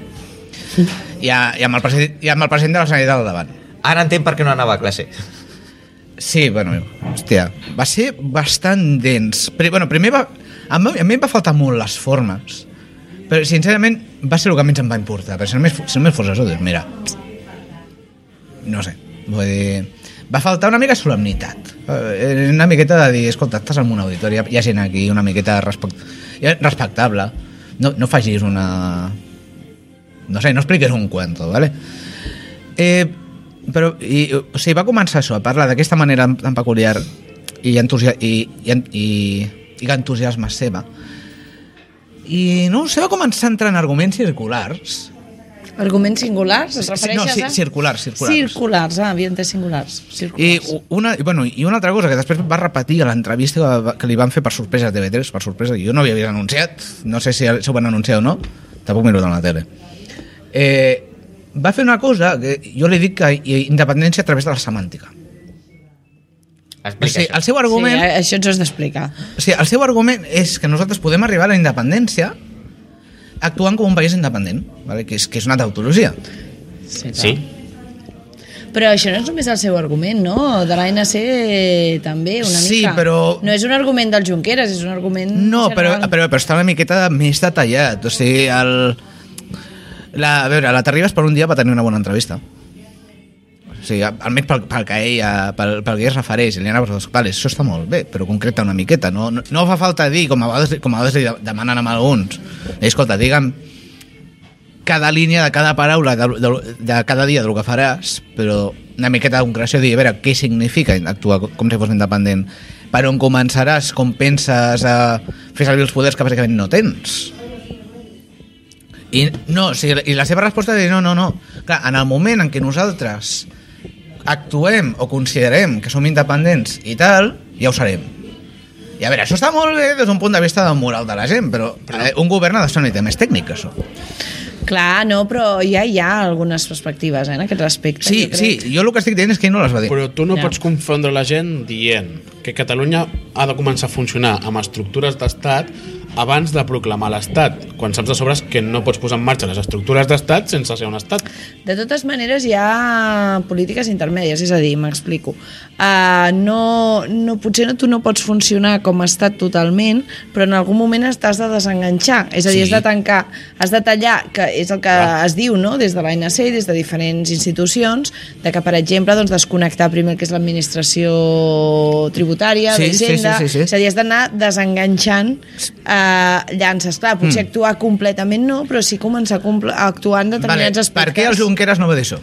Speaker 3: I, a, i, amb el president, I amb el president de la Generalitat al davant.
Speaker 2: Ara entenc per què no anava a classe.
Speaker 3: Sí, bueno, hòstia, va ser bastant dens. Però, bueno, primer va... A mi, a mi em va faltar molt les formes, però sincerament va ser el que menys em va importar, perquè si només, fo- si només fos això, doncs mira, no sé, vull dir... Va faltar una mica solemnitat, eh, una miqueta de dir, escolta, estàs en un auditori, hi ha- hi ha gent aquí, una miqueta respect, hi ha- respectable, no, no facis una... No sé, no expliques un cuento, ¿vale? Eh, però, i, o sigui, va començar això, a parlar d'aquesta manera tan peculiar i, entusia i, i, en- i, i que entusiasma seva. I no ho sé, va començar a entrar en arguments circulars
Speaker 4: Arguments singulars?
Speaker 3: Sí,
Speaker 4: Es
Speaker 3: sí,
Speaker 4: refereixes
Speaker 3: no, sí,
Speaker 4: a...
Speaker 3: circulars, circulars.
Speaker 4: Circulars, ah, havien de singulars.
Speaker 3: I,
Speaker 4: Circulars.
Speaker 3: u- una, i, bueno, I una altra cosa que després va repetir a l'entrevista que, va- que li van fer per sorpresa a TV3, per sorpresa, jo no havia vist anunciat, no sé si, si ho van anunciar o no, tampoc m'he a la tele. Eh, va fer una cosa que jo li dic que independència a través de la semàntica. O
Speaker 2: Explica
Speaker 3: sigui,
Speaker 2: això.
Speaker 3: el seu argument...
Speaker 4: Sí, a- això ens ho has d'explicar.
Speaker 3: O sigui, el seu argument és que nosaltres podem arribar a la independència actuant com un país independent, vale? que, és, que és una tautologia.
Speaker 4: Sí, clar.
Speaker 2: Sí?
Speaker 4: Però això no és només el seu argument, no? De l'ANC eh, també, una
Speaker 3: Sí,
Speaker 4: mica.
Speaker 3: però-
Speaker 4: No és un argument del Junqueras, és un argument
Speaker 3: No, però,
Speaker 4: general.
Speaker 3: però, però està una miqueta més detallat. O sigui, el... La, a veure, la Terribas per un dia va tenir una bona entrevista. O sigui, almenys pel, pel que ella, pel, pel que ell es refereix, Eliana Barros Pales, això està molt bé, però concreta una miqueta. No, no, no fa falta dir, com a vegades, com a vegades li demanen amb alguns, escolta, digue'm cada línia de cada paraula de, de, de cada dia del que faràs, però una miqueta de concreció, dir, a veure, què significa actuar co- com si fos independent? Per on començaràs? Com penses a fer servir els poders que bàsicament no tens? I, no, o sigui, i la seva resposta és no, no, no. Clar, en el moment en què nosaltres actuem o considerem que som independents i tal, ja ho serem. I a veure, això està molt bé des d'un punt de vista de moral de la gent, però eh, un govern ha de ser una mica més tècnic, això.
Speaker 4: Clar, no, però ja hi ha algunes perspectives eh, en aquest respecte.
Speaker 3: Sí,
Speaker 4: jo crec.
Speaker 3: sí, jo el que estic dient és que ell no les va dir.
Speaker 1: Però tu no
Speaker 4: Ja.
Speaker 1: pots confondre la gent dient que Catalunya ha de començar a funcionar amb estructures d'estat abans de proclamar l'estat, quan saps de sobres que no pots posar en marxa les estructures d'estat sense ser un estat.
Speaker 4: De totes maneres, hi ha polítiques intermèdies, és a dir, m'explico. Uh, no, no, potser no, tu no pots funcionar com a estat totalment, però en algun moment t'has de desenganxar. És a dir,
Speaker 3: Sí.
Speaker 4: sí. has de tancar, has de tallar, que és el que ah. es diu no? des de l'ANC i des de diferents institucions, de que, per exemple, doncs, desconnectar primer el que és l'administració tributària,
Speaker 3: Sí,
Speaker 4: sí, d'Hisenda...
Speaker 3: sí, sí, sí, sí.
Speaker 4: És a dir, has d'anar desenganxant uh, llances. Clar, potser mm. actuar completament no, però sí començar a compl- a actuar en determinats aspectes.
Speaker 3: per què el Junqueras no va dir això?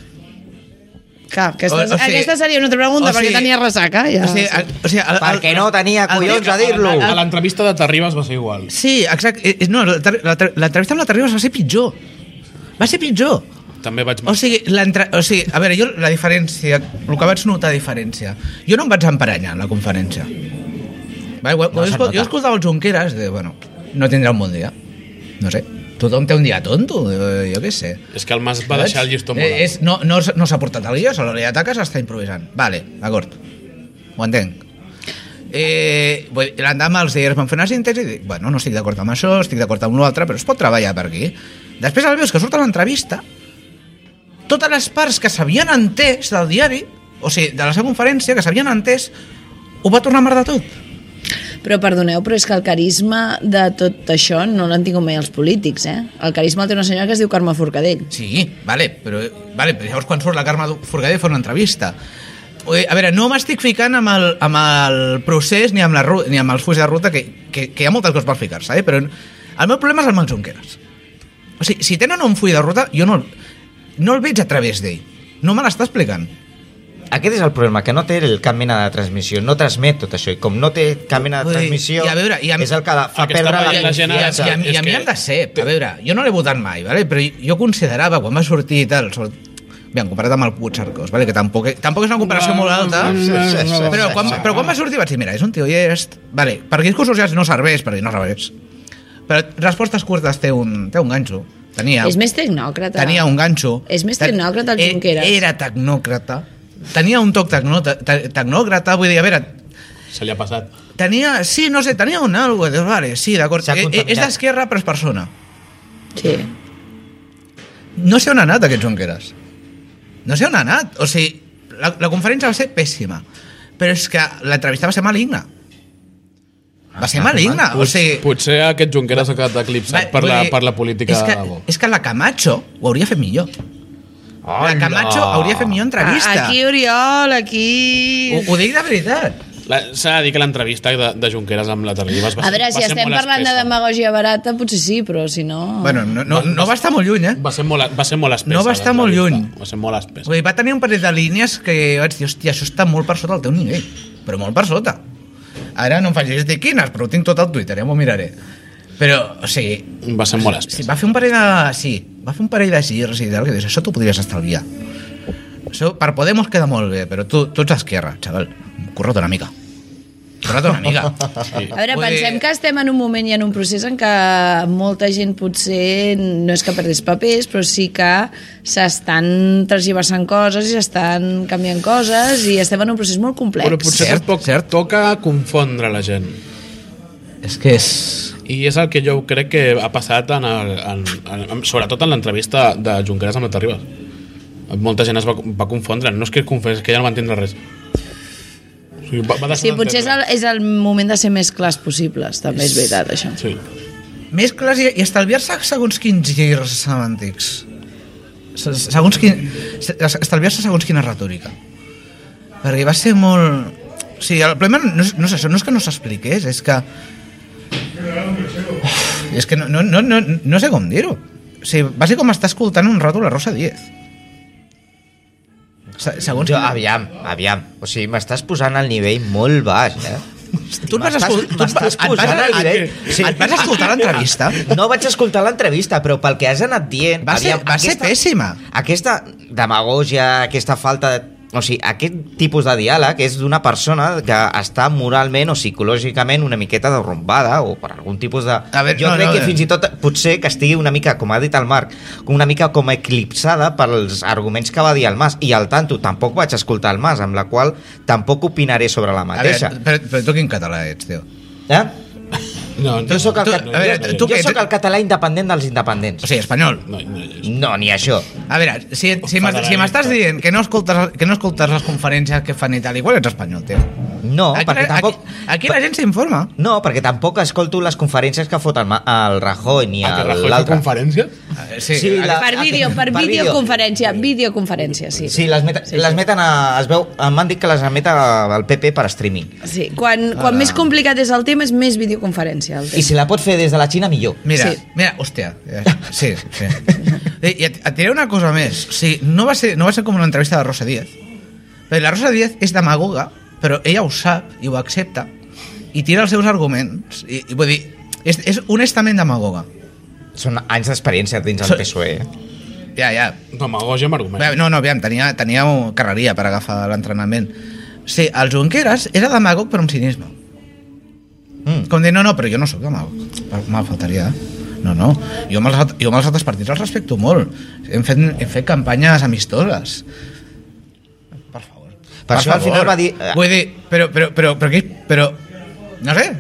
Speaker 4: Clar, aquesta,
Speaker 3: O- o sigui-
Speaker 4: aquesta seria una altra
Speaker 3: o
Speaker 4: pregunta,
Speaker 3: sigui-
Speaker 4: perquè tenia ressaca. Ja.
Speaker 3: O sigui, el, o sigui, el, el,
Speaker 2: Perquè no tenia collons a dir-lo.
Speaker 1: A l'entrevista de Terribas va ser igual.
Speaker 3: Sí, exacte. Eh, eh, No, la ter- la ter- l'entrevista amb la Terribas va ser pitjor. Va ser pitjor.
Speaker 1: També vaig...
Speaker 3: O sigui, l'entre- o sigui, a veure, jo la diferència, el que vaig notar diferència, jo no em vaig emparanyar en la conferència. Va, ho, ho,
Speaker 2: se't
Speaker 3: escol,
Speaker 2: nota.
Speaker 3: jo escoltava el Junqueras, de, bueno, no tindrà un bon dia. No sé, tothom té un dia tonto, eh, jo què sé.
Speaker 1: És que el Mas va deixar el llistó molt
Speaker 3: Eh,
Speaker 1: alt.
Speaker 3: és, no no, s- no s'ha portat el guió, a l'hora d'atacar s'està improvisant. Vale, d'acord. Ho entenc. Eh, vull dir, L'endemà els dies van fer una síntesi i dic, bueno, no estic d'acord amb això, estic d'acord amb l'altre, però es pot treballar per aquí. Després el veus que surt a l'entrevista, totes les parts que s'havien entès del diari, o sigui, de la seva conferència, que s'havien entès, ho va tornar a mar de tot.
Speaker 4: Però perdoneu, però és que el carisma de tot això no l'han tingut mai els polítics, eh? El carisma el té una senyora que es diu Carme Forcadell.
Speaker 3: Sí, vale, però, vale, però llavors quan surt la Carme Forcadell fa una entrevista. Oi, A veure, no m'estic ficant amb el, amb el procés ni amb, la, ru- ni amb els fulls de ruta, que, que, que hi ha moltes coses per ficar-se, eh? però el meu problema és amb els Junqueras. O sigui, si tenen un full de ruta, jo no, el- no el veig a través d'ell. No me l'està explicant.
Speaker 2: Aquest és el problema, que no té el cap mena de transmissió, no transmet tot això, i com no té cap mena de
Speaker 3: Vull dir,
Speaker 2: transmissió,
Speaker 3: i a veure, i a-
Speaker 2: és el que la- fa
Speaker 1: El que està
Speaker 2: perdre la
Speaker 1: veient la gent ara
Speaker 2: confiança.
Speaker 3: I
Speaker 1: És
Speaker 3: a, i a mi
Speaker 1: que-
Speaker 3: em de ser, a veure, jo no l'he votat mai, vale? però jo considerava, quan va sortir i tal, sobre... bé, en comparat amb el Puigcercós, vale? que tampoc, tampoc és una comparació molt alta,
Speaker 1: Mm,
Speaker 3: però, quan, però quan va sortir vaig dir, mira, és un tio llest, vale, per discursos socials no serveix, perquè no serveix. Però respostes curtes té un, té un ganxo. Tenia,
Speaker 4: És més tecnòcrata.
Speaker 3: tenia un ganxo.
Speaker 4: És més
Speaker 3: Te-
Speaker 4: tecnòcrata el
Speaker 3: e-
Speaker 4: Junqueras.
Speaker 3: Era tecnòcrata. Tenia un toc tecnòcrata, te- tecnòcrata vull dir, a veure,
Speaker 1: Se li ha passat.
Speaker 3: tenia, sí, no sé, tenia un algo, dius, vale, sí, d'acord.
Speaker 2: S'ha
Speaker 3: Eh, eh, És
Speaker 2: contaminat.
Speaker 3: d'esquerra, però és persona.
Speaker 4: Sí.
Speaker 3: No sé on ha anat aquest Junqueras. No sé on ha anat. O sigui, la, la conferència va ser pèssima. Però és que l'entrevista va ser maligna.
Speaker 1: Ah,
Speaker 3: Va ser maligna. Ah, O sigui,
Speaker 1: Potser aquest Junqueras ha quedat eclipsat per,
Speaker 3: vull
Speaker 1: la,
Speaker 3: dir,
Speaker 1: per la política
Speaker 3: és que,
Speaker 1: de Bo.
Speaker 3: És que la Camacho ho hauria fet millor. La
Speaker 2: Hola.
Speaker 3: Camacho hauria fet millor entrevista.
Speaker 4: Aquí, Oriol, aquí...
Speaker 3: Ho, ho dic de veritat.
Speaker 1: La- S'ha de dir que l'entrevista de, de Junqueras amb la Terribas va ser,
Speaker 4: A veure,
Speaker 1: va
Speaker 4: si
Speaker 1: ser
Speaker 4: estem
Speaker 1: molt
Speaker 4: parlant de
Speaker 1: espessa.
Speaker 4: demagogia barata, potser sí, però si no...
Speaker 3: Bueno, no, no, no va estar molt lluny, eh?
Speaker 1: Va ser molt, va ser molt espessa.
Speaker 3: No va estar molt
Speaker 1: l'entrevista.
Speaker 3: lluny.
Speaker 1: Va ser molt espessa.
Speaker 3: Vull dir, va tenir un parell de línies que vaig dir, hòstia, això està molt per sota del teu nivell, però molt per sota. Ara no em facis dir quines, però ho tinc tot al Twitter, ja m'ho miraré. eh? Però, o sigui,
Speaker 1: Va ser molt
Speaker 3: sí,
Speaker 1: espessa.
Speaker 3: va fer un parell de... Sí, va fer un parell de girs i tal, que dius, això t'ho podries estalviar. Això per Podemos queda molt bé, però tu, tu ets esquerra, xaval. Corra't una mica. Corra't una mica. Sí.
Speaker 4: A veure, pensem que estem en un moment i en un procés en què molta gent potser no és que perdés papers, però sí que s'estan tergiversant coses i s'estan canviant coses i estem en un procés molt complex.
Speaker 1: Però potser
Speaker 3: Cert,
Speaker 1: tampoc
Speaker 3: cert.
Speaker 1: toca confondre la gent.
Speaker 3: És que és...
Speaker 1: I és el que jo crec que ha passat, en el, en, en, en, sobretot en l'entrevista de Junqueras amb la Terribas. Molta gent es va, va confondre. No és que es confés, que ja no va entendre res. O sigui, va, va deixar
Speaker 4: Sí, potser és el,
Speaker 1: d'entendre.
Speaker 4: és el moment de ser més clars possibles, també és veritat, això.
Speaker 1: Sí.
Speaker 3: Més clars i, i estalviar-se segons quins girs semàntics. Se- Segons quin... se- Estalviar-se segons quina retòrica. Perquè va ser molt... O sigui, el problema no és, no és això, no és que no s'expliqués, és que... Uf, és que no, no, no, no, no sé com dir-ho. O sigui, va ser com estar escoltant un rato la Rosa Díez. Se, segons...
Speaker 2: Jo, ah, aviam, aviam. O sigui, m'estàs posant al nivell molt baix, eh?
Speaker 3: tu et vas
Speaker 2: m'estàs-
Speaker 3: escoltar... Tu et vas,
Speaker 2: m'estàs eh?
Speaker 3: et vas,
Speaker 2: posant al
Speaker 3: et,
Speaker 2: nivell.
Speaker 3: et, et vas escoltar l'entrevista?
Speaker 2: No vaig escoltar l'entrevista, però pel que has anat dient...
Speaker 3: Va ser, va ser pèssima.
Speaker 2: Aquesta demagogia, aquesta falta de... O sigui, aquest tipus de diàleg és d'una persona que està moralment o psicològicament una miqueta derrumbada o per algun tipus de...
Speaker 3: A veure,
Speaker 2: jo
Speaker 3: no, no,
Speaker 2: crec
Speaker 3: eh.
Speaker 2: que
Speaker 3: no.
Speaker 2: fins i tot potser que estigui una mica, com ha dit el Marc, una mica com eclipsada pels arguments que va dir el Mas. I al tanto, tampoc vaig escoltar el Mas, amb la qual tampoc opinaré sobre
Speaker 3: A
Speaker 2: la
Speaker 3: veure,
Speaker 2: mateixa.
Speaker 3: però, però tu quin català ets, tio?
Speaker 2: Eh?
Speaker 1: No, no,
Speaker 2: Jo sóc
Speaker 1: no,
Speaker 2: el,
Speaker 3: Tu-
Speaker 2: cat...
Speaker 1: no,
Speaker 3: a veure,
Speaker 1: no,
Speaker 3: tu-
Speaker 2: jo
Speaker 3: què-
Speaker 2: sóc el català independent dels independents.
Speaker 3: O sigui, espanyol.
Speaker 1: no, no, Ah, no, no.
Speaker 2: No, ni això.
Speaker 3: A veure, si, si m'estàs si m'estàs dient que no, escoltes, que no escoltes les conferències que fan i tal, igual ets espanyol, tio.
Speaker 2: No,
Speaker 3: aquí,
Speaker 2: perquè tampoc...
Speaker 3: Aquí, aquí la gent s'informa.
Speaker 2: No, perquè tampoc escolto les conferències que fot el, Ma- el Rajoy ni
Speaker 1: Ah, que
Speaker 2: el-
Speaker 1: Rajoy fa
Speaker 2: l'altre.
Speaker 1: conferències?
Speaker 3: Eh, Sí,
Speaker 2: Sí, la-
Speaker 4: Per vídeo, per,
Speaker 2: Ah, Per vídeo.
Speaker 4: videoconferència, videoconferència, sí.
Speaker 2: Sí, les, meta,
Speaker 4: Sí,
Speaker 2: les
Speaker 4: sí.
Speaker 2: meten a, es veu, m'han dit que les emet al PP per streaming.
Speaker 4: Sí, quan, quan més complicat és el tema és més videoconferència. El
Speaker 2: Ah. I
Speaker 4: tema.
Speaker 2: si la pot fer des de la Xina, millor.
Speaker 3: Mira,
Speaker 4: Sí.
Speaker 3: sí. mira, hòstia. eh, Sí, sí. Eh, I et, et diré una cosa més. O sigui, no, va ser, no va ser com una entrevista de Rosa Díez. Perquè la Rosa Díez és demagoga, però ella ho sap i ho accepta i tira els seus arguments. I, i vull dir, és, és honestament demagoga.
Speaker 2: Són anys d'experiència dins
Speaker 3: Sí.
Speaker 2: el PSOE. eh?
Speaker 3: Ja, ja,
Speaker 1: Demagogia amb arguments.
Speaker 3: Bé, No, no, aviam, tenia, tenia un- carreria per agafar l'entrenament. Sí, el Junqueras era demagog però amb cinisme.
Speaker 2: Mm.
Speaker 3: Com dir, no, no, però jo no sóc demagog. Me'l faltaria. eh? No, no. Jo amb, els, alt- jo amb els altres partits els respecto molt. Hem fet, hem fet campanyes amistoses. Per favor.
Speaker 2: Per això al final va dir-
Speaker 3: Vull dir, eh, però, però, però, però, però, però, no sé,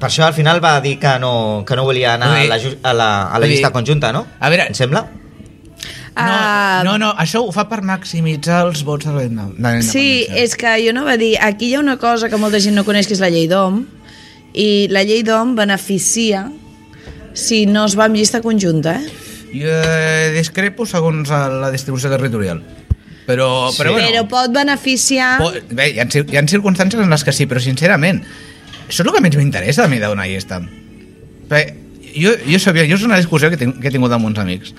Speaker 2: Per això al final va dir que no, que no volia anar
Speaker 3: Vull
Speaker 2: a
Speaker 3: dir-
Speaker 2: la, ju- a la, a la
Speaker 3: vull dir-
Speaker 2: llista conjunta, no?
Speaker 3: A veure-
Speaker 2: Em sembla?
Speaker 4: Ah,
Speaker 3: no, no, no, això ho fa per maximitzar els vots de la de la
Speaker 4: Sí,
Speaker 3: independència.
Speaker 4: és que jo no va dir, aquí hi ha una cosa que molta gent no coneix, que és la llei d'OM, i la llei d'OM beneficia si no es va amb llista conjunta, eh?
Speaker 3: Jo eh, discrepo segons el- la distribució territorial. Però, Oh, però,
Speaker 2: Sí.
Speaker 3: bueno,
Speaker 4: Però pot beneficiar...
Speaker 3: po- bé, hi ha, cir- hi ha circumstàncies en les que sí, però sincerament, això és el que menys m'interessa a mi d'una llista. Bé, jo, jo sabia, jo és una discussió que, tinc, que he tingut amb uns amics.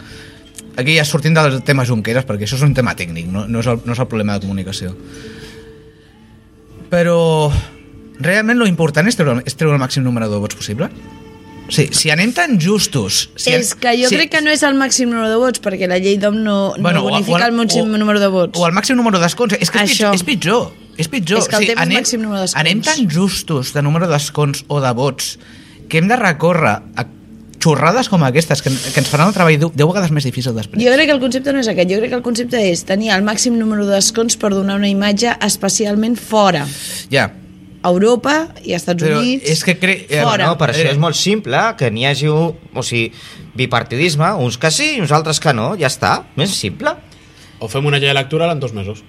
Speaker 3: Aquí ja sortint del tema Junqueras, perquè això és un tema tècnic, no, no, és, el, no és el problema de comunicació. Però realment lo important és treure, és treure el màxim número de vots possible. Sí, si anem tan justos... Si
Speaker 4: Sí, és que jo sí. crec que no és el màxim número de vots, perquè la llei d'OM no, bueno, no bonifica el màxim número de vots.
Speaker 3: O el màxim número d'escons. És que és,
Speaker 4: Això.
Speaker 3: pitjor, és pitjor. És pitjor.
Speaker 4: És que el tema és màxim número d'escons.
Speaker 3: Anem tan justos de número d'escons o de vots que hem de recórrer a xorrades com aquestes que, que ens faran el treball deu, deu vegades més difícil després.
Speaker 4: Jo crec que el concepte no és aquest, jo crec que el concepte és tenir el màxim número d'escons per donar una imatge especialment fora.
Speaker 3: Ja.
Speaker 4: A Europa i als Estats
Speaker 3: Però
Speaker 4: Units.
Speaker 3: és que crec...
Speaker 4: Fora.
Speaker 2: No, per això
Speaker 3: Eh,
Speaker 2: és molt simple que n'hi hagi un, o sigui, bipartidisme, uns que sí i uns altres que no, ja està, més simple.
Speaker 1: O fem una llei electoral en dos mesos.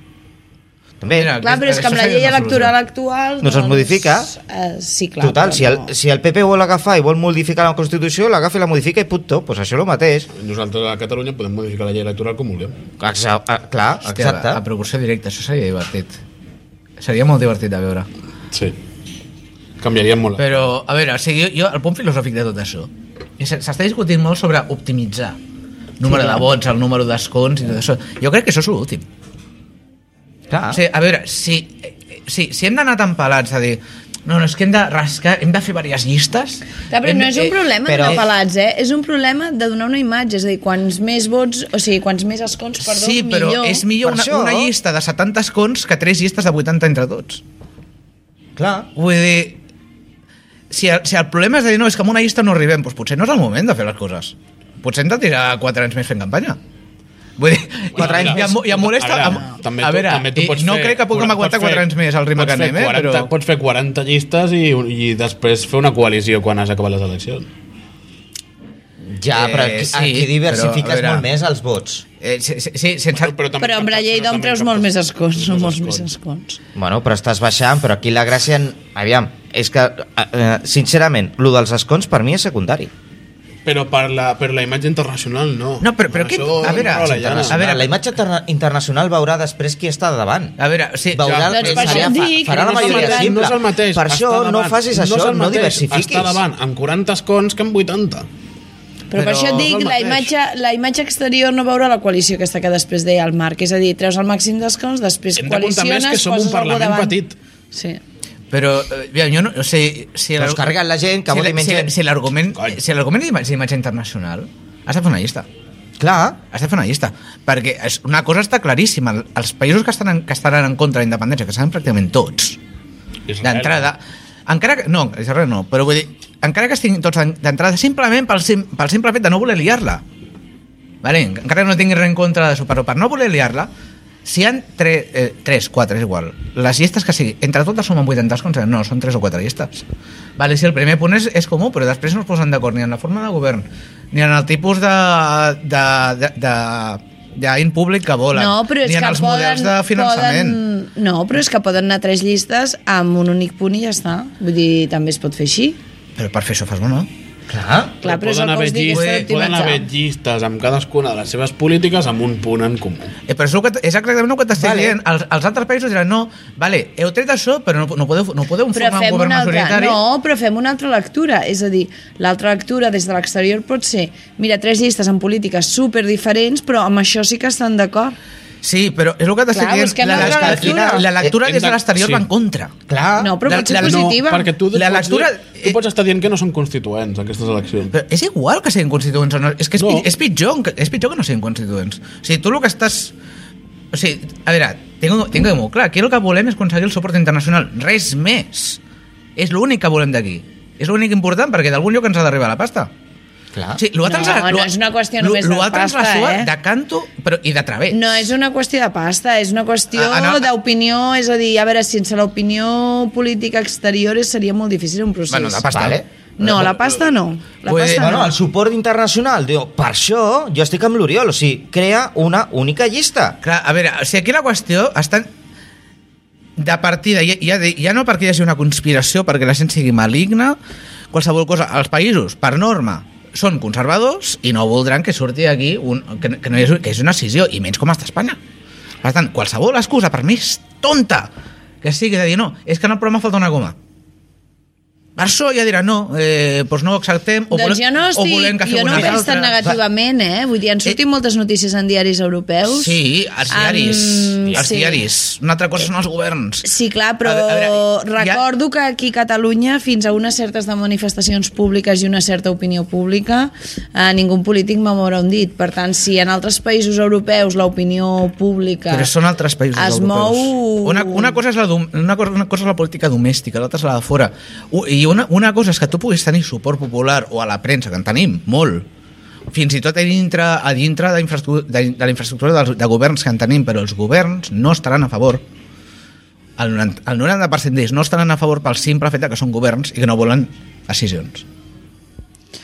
Speaker 2: També,
Speaker 3: Mira,
Speaker 4: Clar, però és que amb la
Speaker 3: Això seria
Speaker 4: llei
Speaker 3: una solució.
Speaker 4: electoral actual... doncs,
Speaker 2: No se'ls modifica.
Speaker 4: eh, sí, clar.
Speaker 2: Total,
Speaker 4: però
Speaker 2: si el,
Speaker 4: no.
Speaker 2: si el PP vol agafar i vol modificar la Constitució, l'agafa i la modifica i punto. Doncs pues això és el mateix.
Speaker 1: Nosaltres a Catalunya podem modificar la llei electoral com vulguem.
Speaker 2: Exa ah, clar,
Speaker 3: Hòstia,
Speaker 2: exacte.
Speaker 3: a, a proporció directa, això seria divertit. Seria molt divertit de veure.
Speaker 1: Sí. Canviaríem molt. Però...
Speaker 3: Però, a veure, o sigui, jo, jo, el punt filosòfic de tot això és que s'està discutint molt sobre optimitzar el número de vots, el número d'escons i tot això. Jo crec que això és l'últim.
Speaker 2: clar.
Speaker 1: Ah.
Speaker 3: O sigui, a veure, si, eh, si, si hem d'anar tan pelats a dir No, no, és que hem de rascar, hem de fer diverses llistes.
Speaker 4: Clar, però
Speaker 3: Hem-
Speaker 4: no és
Speaker 3: eh,
Speaker 4: un problema
Speaker 2: però-
Speaker 4: però... de pelats, eh? És un problema de donar una imatge, és a dir, quants més vots, o sigui, quants més escons, perdó,
Speaker 3: sí, però
Speaker 4: millor.
Speaker 3: és millor
Speaker 2: Per
Speaker 3: una,
Speaker 2: això-
Speaker 3: una llista de 70 escons que tres llistes de 80 entre tots.
Speaker 2: Clar.
Speaker 3: Vull dir, si el, si el problema és de dir, no, és que amb una llista no arribem, doncs potser no és el moment de fer les coses. Potser hem de tirar 4 anys més fent campanya. Vull dir,
Speaker 2: Quatre
Speaker 3: i,
Speaker 2: anys
Speaker 3: i, em, i em molesta...
Speaker 1: A
Speaker 3: A,
Speaker 1: veure, també
Speaker 3: a
Speaker 1: tu-
Speaker 3: veure
Speaker 1: també tu
Speaker 3: i
Speaker 1: pots
Speaker 3: no
Speaker 1: fer-
Speaker 3: crec que puguem
Speaker 1: pots
Speaker 3: aguantar
Speaker 1: fer-
Speaker 3: 4 anys més al ritme
Speaker 1: pots
Speaker 3: que
Speaker 1: fer
Speaker 3: anem, eh?
Speaker 1: 40
Speaker 3: Però...
Speaker 1: Pots fer 40 llistes i, i després fer una coalició quan has acabat les eleccions.
Speaker 2: Ja,
Speaker 3: Eh,
Speaker 2: però aquí,
Speaker 3: sí,
Speaker 2: aquí
Speaker 3: però, a
Speaker 2: diversifiques
Speaker 3: veure.
Speaker 2: molt més els vots.
Speaker 3: Eh, sí, sí, sí, sense...
Speaker 1: també
Speaker 4: Però amb la
Speaker 1: captes-
Speaker 4: llei d'on
Speaker 1: també
Speaker 4: treus
Speaker 1: captes-
Speaker 4: molts més escons, no molts més
Speaker 1: escons.
Speaker 4: escons.
Speaker 2: Bueno, però estàs baixant, però aquí la gràcia... Aviam, és que, eh, eh, sincerament, lo dels escons per mi és secundari.
Speaker 1: Però per la, per la imatge internacional no.
Speaker 3: No, però- però
Speaker 1: Això
Speaker 3: què- a veure,
Speaker 1: no la llana.
Speaker 3: internacional.
Speaker 2: A veure, la imatge interna internacional veurà després qui està davant.
Speaker 3: A veure, sí,
Speaker 2: Veurà,
Speaker 1: Doncs
Speaker 4: per això
Speaker 2: farà-
Speaker 4: et dic,
Speaker 2: farà la
Speaker 4: no és el
Speaker 2: majoria
Speaker 4: mateix,
Speaker 2: simple.
Speaker 1: No és el mateix.
Speaker 2: Per això
Speaker 1: estar
Speaker 2: no
Speaker 1: davant.
Speaker 2: facis
Speaker 1: és
Speaker 2: això,
Speaker 1: el
Speaker 2: no
Speaker 1: mateix Estar
Speaker 2: diversifiques.
Speaker 1: davant amb 40 escons que amb 80.
Speaker 4: Però, per
Speaker 3: Però-
Speaker 4: això
Speaker 1: No
Speaker 4: et
Speaker 1: és
Speaker 4: dic,
Speaker 1: el
Speaker 4: la
Speaker 1: mateix.
Speaker 4: imatge, la imatge exterior no veurà la coalició aquesta que després deia el Marc. És a dir, treus el màxim d'escons, després
Speaker 1: Hem de comptar
Speaker 4: coaliciones,
Speaker 1: més que som un
Speaker 4: poses algú
Speaker 1: parlament
Speaker 4: davant.
Speaker 1: petit.
Speaker 4: Sí.
Speaker 3: Però, eh, ja, jo no... O sigui, si
Speaker 2: Però es carreguen la gent, que
Speaker 3: si,
Speaker 2: voti
Speaker 3: la-
Speaker 2: menys
Speaker 3: si, la-
Speaker 2: gent.
Speaker 3: si l'argument
Speaker 1: Coi.
Speaker 3: si l'argument és imatge internacional, has de fer una llista.
Speaker 2: Clar,
Speaker 3: Has de fer una llista. Perquè és, una cosa està claríssima. el- Els països que estan en, que estaran en contra de la independència, que seran pràcticament tots,
Speaker 1: Israel.
Speaker 3: d'entrada... Encara que... No, Israel no, però vull dir... Encara que estiguin tots en- d'entrada, simplement pel, sim, pel simple fet de no voler liar-la. Vale? Encara que no tinguis res en contra de Super per no voler liar-la, si hi ha tre, eh, 3, 4, és igual, les llistes que sigui, entre totes sumen 80 escons, no, són 3 o 4 llistes. Vale, si el primer punt és, és comú, però després no es posen d'acord ni en la forma de govern, ni en el tipus de... de, de, de d'any públic que volen,
Speaker 4: No, però és
Speaker 3: ni en
Speaker 4: que
Speaker 3: els
Speaker 4: poden,
Speaker 3: models de finançament.
Speaker 4: Poden, no, però és que poden anar tres llistes amb un únic punt i ja està. Vull dir, també es pot fer així.
Speaker 3: Però per fer això fas bona.
Speaker 2: clar.
Speaker 4: Clar, però és
Speaker 1: poden
Speaker 4: el que
Speaker 1: haver,
Speaker 4: us dic,
Speaker 1: llistes,
Speaker 4: s'ha
Speaker 1: poden
Speaker 4: d'optimitzar.
Speaker 1: haver llistes amb cadascuna de les seves polítiques amb un punt en comú.
Speaker 3: Eh, però és, el que, és exactament el que t'estic
Speaker 2: Vale.
Speaker 3: vale. dient. Els, els altres països diran, no, vale, heu tret això, però no, no podeu, no podeu
Speaker 4: Però
Speaker 3: formar un
Speaker 4: fem
Speaker 3: govern
Speaker 4: una altra,
Speaker 3: majoritari.
Speaker 4: no, però fem una altra lectura. És a dir, l'altra lectura des de l'exterior pot ser, mira, tres llistes amb polítiques super diferents, però amb això sí que estan d'acord.
Speaker 3: Sí, però és el que t'estic
Speaker 4: Clar,
Speaker 3: dient.
Speaker 4: busquem
Speaker 3: La,
Speaker 4: una
Speaker 3: la,
Speaker 4: altra
Speaker 3: lectura,
Speaker 2: lectura.
Speaker 3: la lectura
Speaker 1: Hem
Speaker 3: des
Speaker 1: de-
Speaker 3: de l'exterior
Speaker 1: Eh, sí.
Speaker 3: va en contra.
Speaker 2: Clar.
Speaker 4: No, però
Speaker 3: la-
Speaker 4: pot ser
Speaker 3: la- Ah, no,
Speaker 4: positiva.
Speaker 1: No, perquè tu,
Speaker 3: La
Speaker 1: pots
Speaker 3: lectura-
Speaker 1: dir, tu pots estar dient que no són constituents, aquestes eleccions.
Speaker 3: Però és igual que siguin constituents o no. És que és,
Speaker 1: No.
Speaker 3: no. és, pitjor, que, és pitjor que no siguin constituents. O sigui, tu el que estàs... O sigui, a veure, tinc, tinc molt clar. Aquí el que volem és aconseguir el suport internacional. Res més. És l'únic que volem d'aquí. És l'únic important perquè d'algun lloc ens ha d'arribar la pasta.
Speaker 2: clar.
Speaker 3: Sí, lo altre ens la-
Speaker 4: No,
Speaker 3: lo-
Speaker 4: no és una qüestió
Speaker 3: lo-
Speaker 4: només
Speaker 3: lo
Speaker 4: de
Speaker 3: altre ens la
Speaker 4: pasta,
Speaker 3: sua
Speaker 4: eh?
Speaker 3: De canto però, i de través.
Speaker 4: No és una qüestió de pasta, és una qüestió
Speaker 3: Ah, no.
Speaker 4: d'opinió, és a dir, a veure, sense l'opinió política exterior és- seria molt difícil un procés.
Speaker 3: Bueno, de pasta. eh?
Speaker 2: Vale.
Speaker 4: No, la pasta no. La
Speaker 3: Pues,
Speaker 2: Eh,
Speaker 4: pasta
Speaker 2: Bueno,
Speaker 4: no.
Speaker 2: el suport internacional, diu, per això jo estic amb l'Oriol, o sigui, crea una única llista.
Speaker 3: Clar, a veure, o sigui, aquí la qüestió està... De partida, ja, ja, de- ja no perquè hi hagi una conspiració perquè la gent sigui maligna, qualsevol cosa. Els països, per norma, són conservadors i no voldran que surti aquí un, que, que, no és, que és una decisió, i menys com està Espanya. Per tant, qualsevol excusa, per més tonta que sigui, de dir, no, és que en el programa falta una goma. Per això ja dirà, no, eh, doncs no ho acceptem, o,
Speaker 4: doncs
Speaker 3: volem,
Speaker 4: jo no,
Speaker 3: o volem
Speaker 4: estic,
Speaker 3: que feu
Speaker 4: jo no
Speaker 3: una
Speaker 4: ho veig tan
Speaker 3: altra.
Speaker 4: negativament, eh? Vull dir, han sortit
Speaker 3: Eh,
Speaker 4: moltes notícies en diaris europeus.
Speaker 3: Sí, els diaris.
Speaker 4: Amb-
Speaker 3: els
Speaker 4: sí. Eh,
Speaker 3: diaris. Una altra cosa són els governs.
Speaker 4: Sí, clar, però
Speaker 3: A veure, a veure, hi ha-
Speaker 4: recordo que aquí a Catalunya, fins a unes certes de manifestacions públiques i una certa opinió pública, eh, ningú polític m'ha moure un dit. Per tant, si en altres països europeus l'opinió pública...
Speaker 3: Però són altres països
Speaker 4: es
Speaker 3: europeus.
Speaker 4: mou-
Speaker 3: Una, una, cosa és la, dom- una, cosa, una cosa és la política domèstica, l'altra és la de fora. U- I una, una cosa és que tu puguis tenir suport popular o a la premsa, que en tenim, molt, fins i tot a dintre, a dintre de, infraestru- de, de la infraestructura dels, de governs que en tenim, però els governs no estaran a favor el 90%, el 90 d'ells no estaran a favor pel simple fet de que són governs i que no volen decisions.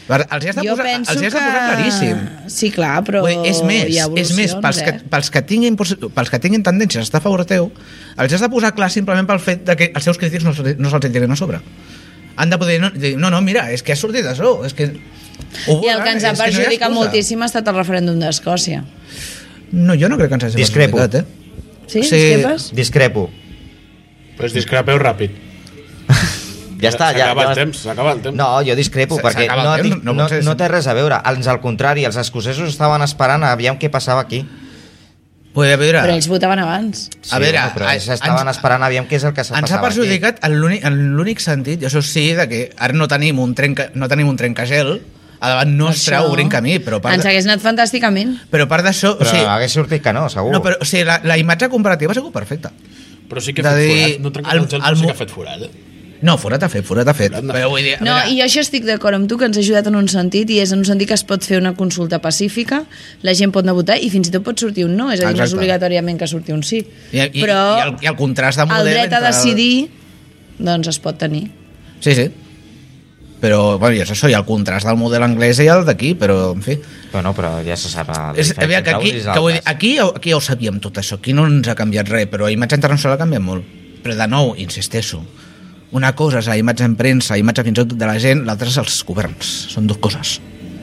Speaker 3: Per- Els hi has de
Speaker 4: Jo
Speaker 3: posar,
Speaker 4: penso
Speaker 3: els hi has de posar
Speaker 4: que...
Speaker 3: claríssim.
Speaker 4: Sí, clar, però
Speaker 3: Vull dir, és més,
Speaker 4: hi ha
Speaker 3: és més pels, que,
Speaker 4: evolucions, eh?
Speaker 3: pels, que tinguin, possi- pels que tinguin tendències a estar a favor teu, els has de posar clar simplement pel fet de que els seus crítics no, se- no se'ls en tiren a sobre. Han de poder no, dir, no, no, mira, és que ha sortit això, és que... ho
Speaker 4: I el
Speaker 3: volen,
Speaker 4: que ens ha
Speaker 3: és no hi ha
Speaker 4: perjudicat
Speaker 3: excusa.
Speaker 4: moltíssim ha estat el referèndum d'Escòcia.
Speaker 3: No, jo no crec que ens hagi
Speaker 2: Discrepo.
Speaker 3: perjudicat, eh?
Speaker 4: Sí?
Speaker 3: Sí.
Speaker 4: sí. Discrepes?
Speaker 2: Discrepo.
Speaker 1: Pues discrepeu ràpid.
Speaker 2: Ja està, ja...
Speaker 1: S'acaba
Speaker 2: ja-
Speaker 1: el temps, s'acaba el temps.
Speaker 2: No, jo discrepo,
Speaker 3: S-
Speaker 2: perquè
Speaker 3: s'acaba
Speaker 2: no,
Speaker 3: el temps,
Speaker 2: tinc-
Speaker 3: no
Speaker 2: no,
Speaker 3: pot ser
Speaker 2: no,
Speaker 3: sempre.
Speaker 2: té res a veure. Ans, al contrari, els escocesos estaven esperant aviam què passava aquí.
Speaker 3: Vull dir, a veure,
Speaker 4: Però ells votaven abans.
Speaker 2: Sí, a veure,
Speaker 3: veure,
Speaker 2: no, però
Speaker 3: a-
Speaker 2: ells estaven
Speaker 3: ens-
Speaker 2: esperant aviam què és el que s'ha
Speaker 3: ens ha perjudicat en l'únic en l'únic sentit, això sí, de que ara no tenim un, trenca, no tenim un trencagel a davant nostre
Speaker 4: Això
Speaker 3: obrint camí, però part,
Speaker 4: Ens
Speaker 3: de,
Speaker 4: hagués anat fantàsticament.
Speaker 3: però part d'això...
Speaker 2: Però uh.
Speaker 3: o sigui,
Speaker 2: hagués sortit que no, segur.
Speaker 3: no, però, o sigui, la, la imatge comparativa ha sigut perfecta.
Speaker 1: Però sí que
Speaker 3: De
Speaker 1: ha fet
Speaker 3: dir,
Speaker 1: forat. No trenca
Speaker 3: el-
Speaker 1: el, el,
Speaker 3: el
Speaker 1: però sí
Speaker 3: mo-
Speaker 1: que ha fet forat. eh?
Speaker 3: No, forat ha fet, forat ha fet.
Speaker 1: Forat n'ha
Speaker 3: Però vull dir, a
Speaker 4: No,
Speaker 3: veure,
Speaker 4: i això estic d'acord amb tu, que ens ha ajudat en un sentit, i és en un sentit que es pot fer una consulta pacífica, la gent pot anar a votar i fins i tot pot sortir un no, és a dir, no és
Speaker 3: Exacte.
Speaker 4: obligatòriament que surti un sí.
Speaker 3: I, i,
Speaker 4: Però
Speaker 3: i, el, I el contrast de model...
Speaker 4: el dret
Speaker 3: entre
Speaker 4: a
Speaker 3: el-
Speaker 4: decidir, doncs es pot tenir.
Speaker 3: Sí, sí. Però, bueno, i és això, i el contrast del model anglès i el d'aquí, però, en fi...
Speaker 2: però, no, però ja se sap. la
Speaker 3: És, a veure,
Speaker 2: diferència
Speaker 3: que aquí,
Speaker 2: entre uns i els
Speaker 3: que vull dir,
Speaker 2: altres.
Speaker 3: aquí, ja ho- aquí ja ho sabíem tot això, aquí no ens ha canviat res, però la imatge internacional ha canviat molt. Però de nou, insisteixo, una cosa és la imatge en premsa, la imatge fins i tot de la gent, l'altra és els governs. Són dues coses.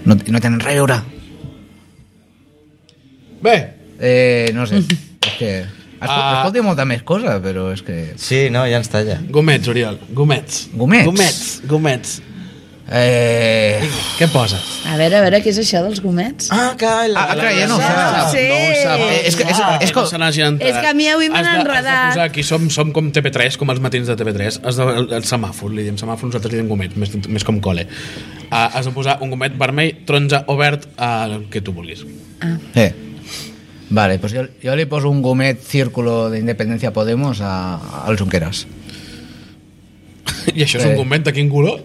Speaker 3: No, no tenen res a veure.
Speaker 1: Bé,
Speaker 3: Eh, no sé, és que... Es pot,
Speaker 1: Ah.
Speaker 3: es pot dir molta més cosa, però és que...
Speaker 2: Sí, no, ja ens talla.
Speaker 1: gomets, Oriol, gomets.
Speaker 3: Gomets?
Speaker 1: Gomets, gomets.
Speaker 3: Eh...
Speaker 1: Què poses?
Speaker 4: A veure, a veure, què és això dels gomets?
Speaker 2: Ah, que...
Speaker 3: Ah, ah, clar, ja no ho
Speaker 4: Ah,
Speaker 3: sap.
Speaker 4: sí.
Speaker 1: No ho sap.
Speaker 3: Eh, és que- és- és que-
Speaker 1: no se n'hagi entrat.
Speaker 4: és que a mi avui m'han
Speaker 1: Has de-
Speaker 4: enredat.
Speaker 1: Has de posar aquí, som, som com TP3, com els matins de TV3. Has de, el, el semàfor, li diem semàfor, nosaltres li diem gomets, més, més com cole. Uh, has de posar un gomet vermell, taronja o verd, uh, el que tu vulguis.
Speaker 3: Eh. Vale, pues jo, jo li poso un gomet círculo d'Independència Podemos a, al Junqueras.
Speaker 1: I això és
Speaker 3: Eh.
Speaker 1: un gomet de quin color?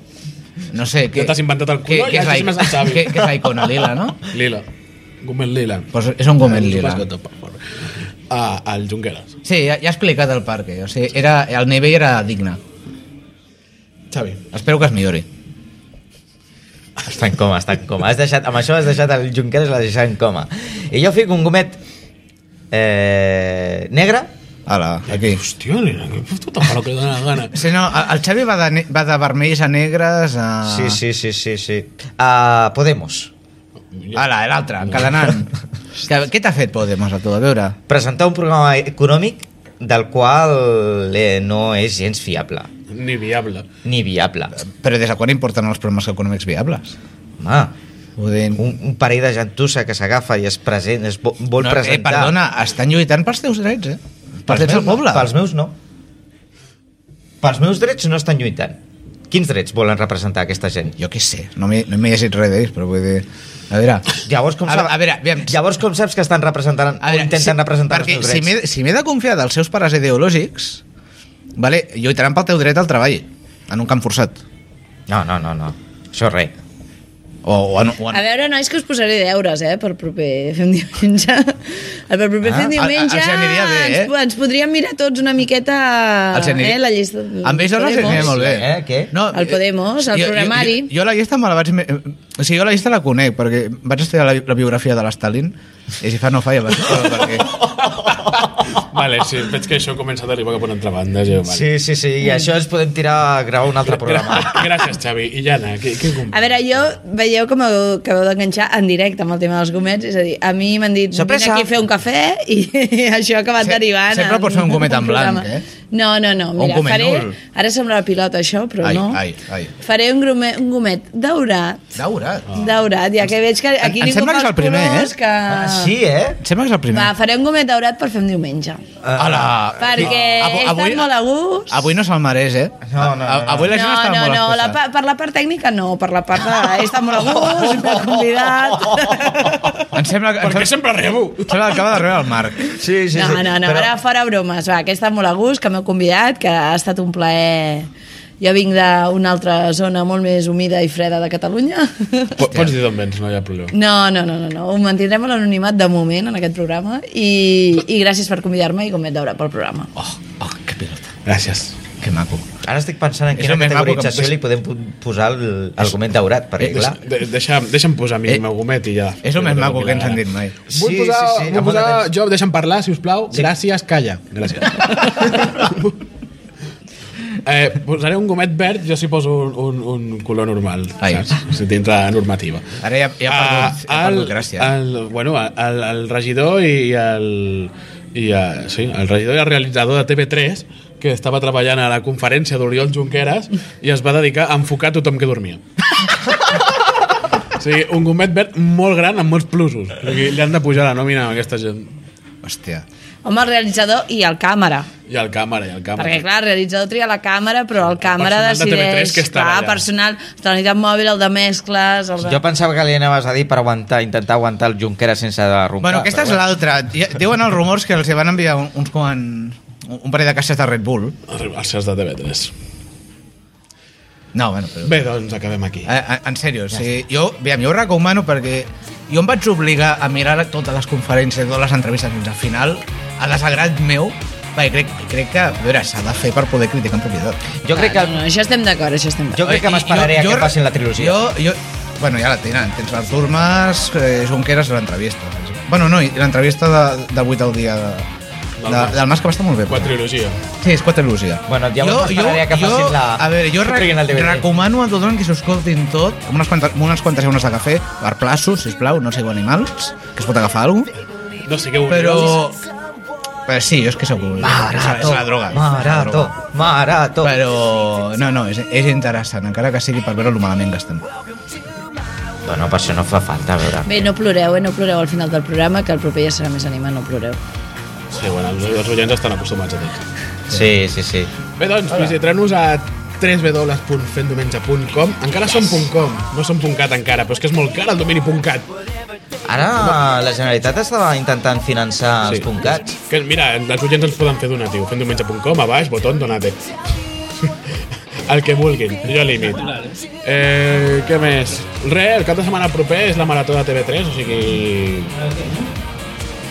Speaker 3: No sé,
Speaker 1: t'has inventat el
Speaker 3: que,
Speaker 1: color i
Speaker 3: que, és
Speaker 1: això
Speaker 3: la,
Speaker 1: sí me se'n sabe.
Speaker 3: que, que és la icona lila, no?
Speaker 1: Lila. Gomet lila.
Speaker 3: Pues és un gomet lila.
Speaker 1: Ah, el Junqueras.
Speaker 3: Sí, ja, ja he explicat el per què. O sigui, era, el nivell era digne.
Speaker 1: Xavi.
Speaker 3: Espero que es millori.
Speaker 2: Està en coma, està en coma. Has deixat, amb això has deixat el Junqueras, l'has deixat en coma. I jo fico un gomet eh, negre.
Speaker 3: Ala, aquí.
Speaker 1: Hòstia, nena, que fas tu tan pel que dona la gana.
Speaker 3: Sí, no, el el Xavi va de, ne- va de vermells a negres a...
Speaker 2: Ah. Sí, sí, sí, sí. sí. Uh, Podemos.
Speaker 3: Ala, l'altre, encadenant. Que, què t'ha fet Podemos a tu? A veure...
Speaker 2: Presentar un programa econòmic del qual eh, no és gens fiable
Speaker 1: Ni viable.
Speaker 2: ni viable.
Speaker 3: Però des de quan importen els problemes econòmics viables?
Speaker 2: Home,
Speaker 3: Vull dir...
Speaker 2: un, un parell de gentussa que s'agafa i es, present, es vo- vol
Speaker 3: No, eh,
Speaker 2: presentar...
Speaker 3: perdona, estan lluitant pels teus drets, eh? Pels drets
Speaker 2: meus
Speaker 3: del poble.
Speaker 2: No, pels meus no. Pels meus drets no estan lluitant. Quins drets volen representar aquesta gent?
Speaker 3: Jo què sé, no m'he no m'he llegit res d'ells, però vull dir... A veure...
Speaker 2: Llavors com,
Speaker 3: a,
Speaker 2: sab...
Speaker 3: a veure, aviam,
Speaker 2: Llavors com saps que estan representant
Speaker 3: a
Speaker 2: o intenten representar els
Speaker 3: perquè
Speaker 2: meus
Speaker 3: si
Speaker 2: drets?
Speaker 3: m'he si m'he de confiar dels seus pares ideològics, vale, lluitaran pel teu dret al treball, en un camp forçat.
Speaker 2: No, no, no, no. Això res.
Speaker 3: O, o, en, o en...
Speaker 4: A veure, nois, que us posaré deures, eh, per proper fem diumenge. El per proper
Speaker 2: Ah,
Speaker 4: fem diumenge
Speaker 3: els aniria bé, eh?
Speaker 4: ens, ens podríem mirar tots una miqueta
Speaker 3: Els aniria-
Speaker 4: eh, la llista.
Speaker 3: Amb ells no les aniria molt bé.
Speaker 2: Eh, què?
Speaker 4: El Podemos, el
Speaker 3: jo- jo-
Speaker 4: programari.
Speaker 3: Jo, jo, la llista me la vaig... me- O sigui, jo la llista la conec, perquè vaig estudiar la, bi- la biografia de l'Stalin, i si fa no fa, ja vaig... perquè...
Speaker 1: Vale, sí, veig que això comença a arribar cap a una altra banda. Sí, vale.
Speaker 2: Sí, sí, sí. I això ens podem tirar a gravar un altre programa.
Speaker 1: Gràcies, Xavi. I Jana, què, què com...
Speaker 4: A veure, jo veieu com acabeu d'enganxar en directe amb el tema dels gomets, és a dir, a mi m'han dit
Speaker 2: Sorpresa.
Speaker 4: vine aquí a fer un cafè i, això ha acabat
Speaker 3: Se-
Speaker 4: derivant.
Speaker 3: sempre
Speaker 4: en
Speaker 3: pots fer un gomet en blanc,
Speaker 4: programa.
Speaker 3: eh?
Speaker 4: No, no, no,
Speaker 3: O un
Speaker 4: mira,
Speaker 3: gomet
Speaker 4: faré...
Speaker 3: nul.
Speaker 4: Ara sembla la pilota això, però
Speaker 3: Ai,
Speaker 4: no.
Speaker 3: ai, ai.
Speaker 4: Faré un gomet, un gomet daurat,
Speaker 3: Daurat.
Speaker 4: daurat, ja que veig que aquí
Speaker 3: em
Speaker 4: ningú
Speaker 3: sembla
Speaker 4: fa
Speaker 3: que és el
Speaker 4: els
Speaker 3: primer,
Speaker 4: colors
Speaker 3: eh?
Speaker 4: que...
Speaker 2: Ah, sí, eh?
Speaker 3: Em sembla que és el primer.
Speaker 4: Va, faré un gomet daurat per fer un diumenge.
Speaker 3: Ala!
Speaker 4: Perquè he estat molt a gust.
Speaker 3: Ah, Avui no se'l mereix, eh?
Speaker 2: No, no, no,
Speaker 3: A- Avui la gent
Speaker 4: no,
Speaker 3: està
Speaker 4: no,
Speaker 3: molt
Speaker 4: no, la,
Speaker 3: estressada.
Speaker 4: pa- per la part tècnica no, per la part de... He estat molt a gust, m'ha convidat...
Speaker 3: Em sembla que...
Speaker 1: Per què
Speaker 3: Em
Speaker 1: sempre rebo?
Speaker 3: sembla que acaba d'arribar el Marc.
Speaker 2: Sí, sí, sí.
Speaker 4: No, no, no,
Speaker 2: Però-
Speaker 4: ara fora bromes, va, que he estat molt a gust, que m'heu convidat, que ha estat un plaer... Jo vinc d'una altra zona molt més humida i freda de Catalunya.
Speaker 1: Pots dir d'on vens, no hi ha problema.
Speaker 4: No, no, no, no, no. ho mantindrem a l'anonimat de moment en aquest programa i, i gràcies per convidar-me i gomet d'hora pel programa.
Speaker 3: Oh, oh, que pilota.
Speaker 1: Gràcies.
Speaker 3: Que maco.
Speaker 2: Ara estic pensant en
Speaker 3: És
Speaker 2: quina
Speaker 3: el més maco que em
Speaker 2: categorització
Speaker 3: passa.
Speaker 2: li podem pu- posar el- el gomet daurat, perquè, clar...
Speaker 1: Eh, De, deixa'm, deixa'm posar a mi
Speaker 3: Eh,
Speaker 1: el meu gomet i ja. eh.
Speaker 3: És el més maco que ens han dit mai.
Speaker 1: Vull posar, sí, sí, vull
Speaker 2: amb molt de
Speaker 1: posar
Speaker 2: temps.
Speaker 1: jo, deixa'm parlar, si us plau. Sí. Gràcies, calla. Gràcies. eh, posaré un gomet verd, jo sí poso un, un, un color normal,
Speaker 3: Ai.
Speaker 1: Ai. saps? Sí, Dintre la normativa.
Speaker 3: Ara ja, ja ha perdut, ja ha
Speaker 1: el-
Speaker 3: perdut gràcia.
Speaker 1: El, Ah, bueno, el, el regidor i el, i el, sí, el regidor i el realitzador de TV3 que estava treballant a la conferència d'Oriol Junqueras i es va dedicar a enfocar tothom que dormia. O sigui, un gomet verd molt gran amb molts plusos. O sigui, li han de pujar la nòmina a aquesta gent.
Speaker 3: Hòstia.
Speaker 4: Home, el realitzador i el càmera.
Speaker 1: I el càmera, i el càmera.
Speaker 4: Perquè, clar, el realitzador tria la càmera, però el càmera
Speaker 1: personal de TV3
Speaker 4: decideix...
Speaker 1: que estava
Speaker 4: clar,
Speaker 1: allà.
Speaker 4: personal, la unitat mòbil, el de mescles... El de...
Speaker 2: Jo pensava que li anaves a dir per aguantar, intentar aguantar el Junquera sense derrumbar.
Speaker 3: Bueno, aquesta és l'altra. Ja- Diuen els rumors que els hi van enviar un- uns quan un parell de caixes de Red Bull.
Speaker 1: Arriba als seus de TV3.
Speaker 3: No, bueno, però...
Speaker 1: Bé, doncs acabem aquí.
Speaker 3: Eh, en- en sèrio, o sigui, jo, aviam, jo ho recomano perquè jo em vaig obligar a mirar totes les conferències, totes les entrevistes fins al final, a desagrat meu, perquè crec, crec que, a veure, s'ha de fer per poder criticar en propietat.
Speaker 2: Jo crec que...
Speaker 4: No, no, això estem d'acord, això estem d'acord.
Speaker 2: Jo crec que
Speaker 3: Eh, i-
Speaker 2: m'esperaré a
Speaker 3: jo-
Speaker 2: que
Speaker 3: jo-
Speaker 2: facin la trilogia.
Speaker 3: Jo, jo, bueno, ja la tenen. Tens l'Artur Mas, eh, Junqueras i l'entrevista. Bueno, no, i l'entrevista de, de 8 al dia de,
Speaker 1: Del
Speaker 3: de,
Speaker 1: Mas.
Speaker 3: del Mas que va estar molt bé.
Speaker 1: Quatre
Speaker 3: però.
Speaker 1: trilogia.
Speaker 3: Sí, és quatrilogia.
Speaker 2: Bueno, ja m'esperaré que
Speaker 3: jo,
Speaker 2: facin la-
Speaker 3: A veure, jo
Speaker 2: que treguin el DVD.
Speaker 3: recomano a tothom que s'ho escoltin tot, amb unes quantes, amb unes quantes eunes de cafè, per plaço, sisplau, no sigueu animals, que es pot agafar alguna cosa,
Speaker 1: No sé què
Speaker 3: però... Però sí, jo és que segur. és,
Speaker 2: Marató,
Speaker 3: la droga. és la
Speaker 2: marató,
Speaker 3: droga.
Speaker 2: marató.
Speaker 3: Però... No, no, és, és interessant, encara que sigui per veure lo malament que estem.
Speaker 2: Bueno, per això no fa falta, a veure.
Speaker 4: Bé, no ploreu, eh? No ploreu al final del programa, que el proper ja serà més animat, no ploreu.
Speaker 1: Sí, bueno, els, els oients estan acostumats a tot.
Speaker 2: Sí, sí, sí.
Speaker 1: Bé, doncs, visitareu-nos a www.fendiumenge.com Encara som .com, no som .cat encara, però és que és molt car el domini .cat.
Speaker 2: Ara la Generalitat estava intentant finançar els puntcats.
Speaker 1: Que, mira, els oients ens poden fer donatiu. Fendiumenge.com, a baix, botó, donate. el que vulguin, jo límit. Eh, què més? Res, el cap de setmana proper és la marató de TV3, o sigui...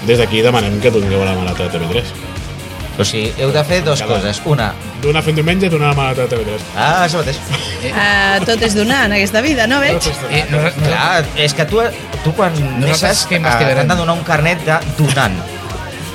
Speaker 1: Des d'aquí demanem que dongueu a la marató de TV3.
Speaker 2: O sigui, heu de fer dues
Speaker 1: Cada-
Speaker 2: coses. Una,
Speaker 1: Donar fent diumenge i donar a la marató de TV3.
Speaker 2: ah, això mateix.
Speaker 4: Uh, tot és donar en aquesta vida, no veig?
Speaker 3: Eh, nosaltres,
Speaker 2: Clar, és que tu, tu quan
Speaker 3: Nosaltres
Speaker 2: neixes
Speaker 3: que
Speaker 2: eh,
Speaker 3: investigarem.
Speaker 2: t'han de donar un carnet de donant.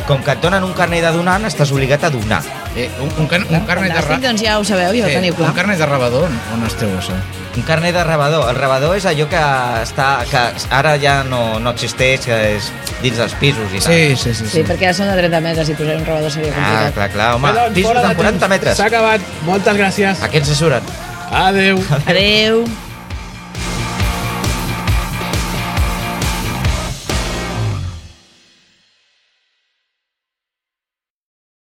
Speaker 2: Com que et donen un carnet de donant, estàs obligat a donar.
Speaker 3: Eh, un, un, can, un carnet de
Speaker 4: Fantàstic,
Speaker 3: ra... eh,
Speaker 4: doncs ja ho sabeu, ja ho teniu clar.
Speaker 3: un carnet de rebador, on- on es treu això?
Speaker 2: Un carnet de rebador. El rebador és allò que està que ara ja no, no existeix, que és dins dels pisos i
Speaker 3: Sí, sí, sí.
Speaker 4: Sí,
Speaker 3: sí.
Speaker 4: perquè ara són de 30 metres i posar un rebador seria
Speaker 2: tal. Ah,
Speaker 4: complicat.
Speaker 2: clar, clar, home.
Speaker 1: Bé, doncs,
Speaker 2: Pisos
Speaker 1: fora de
Speaker 2: de 40
Speaker 1: temps.
Speaker 2: metres.
Speaker 1: S'ha acabat. Moltes gràcies.
Speaker 2: Aquests se suren.
Speaker 1: Adeu.
Speaker 4: Adeu.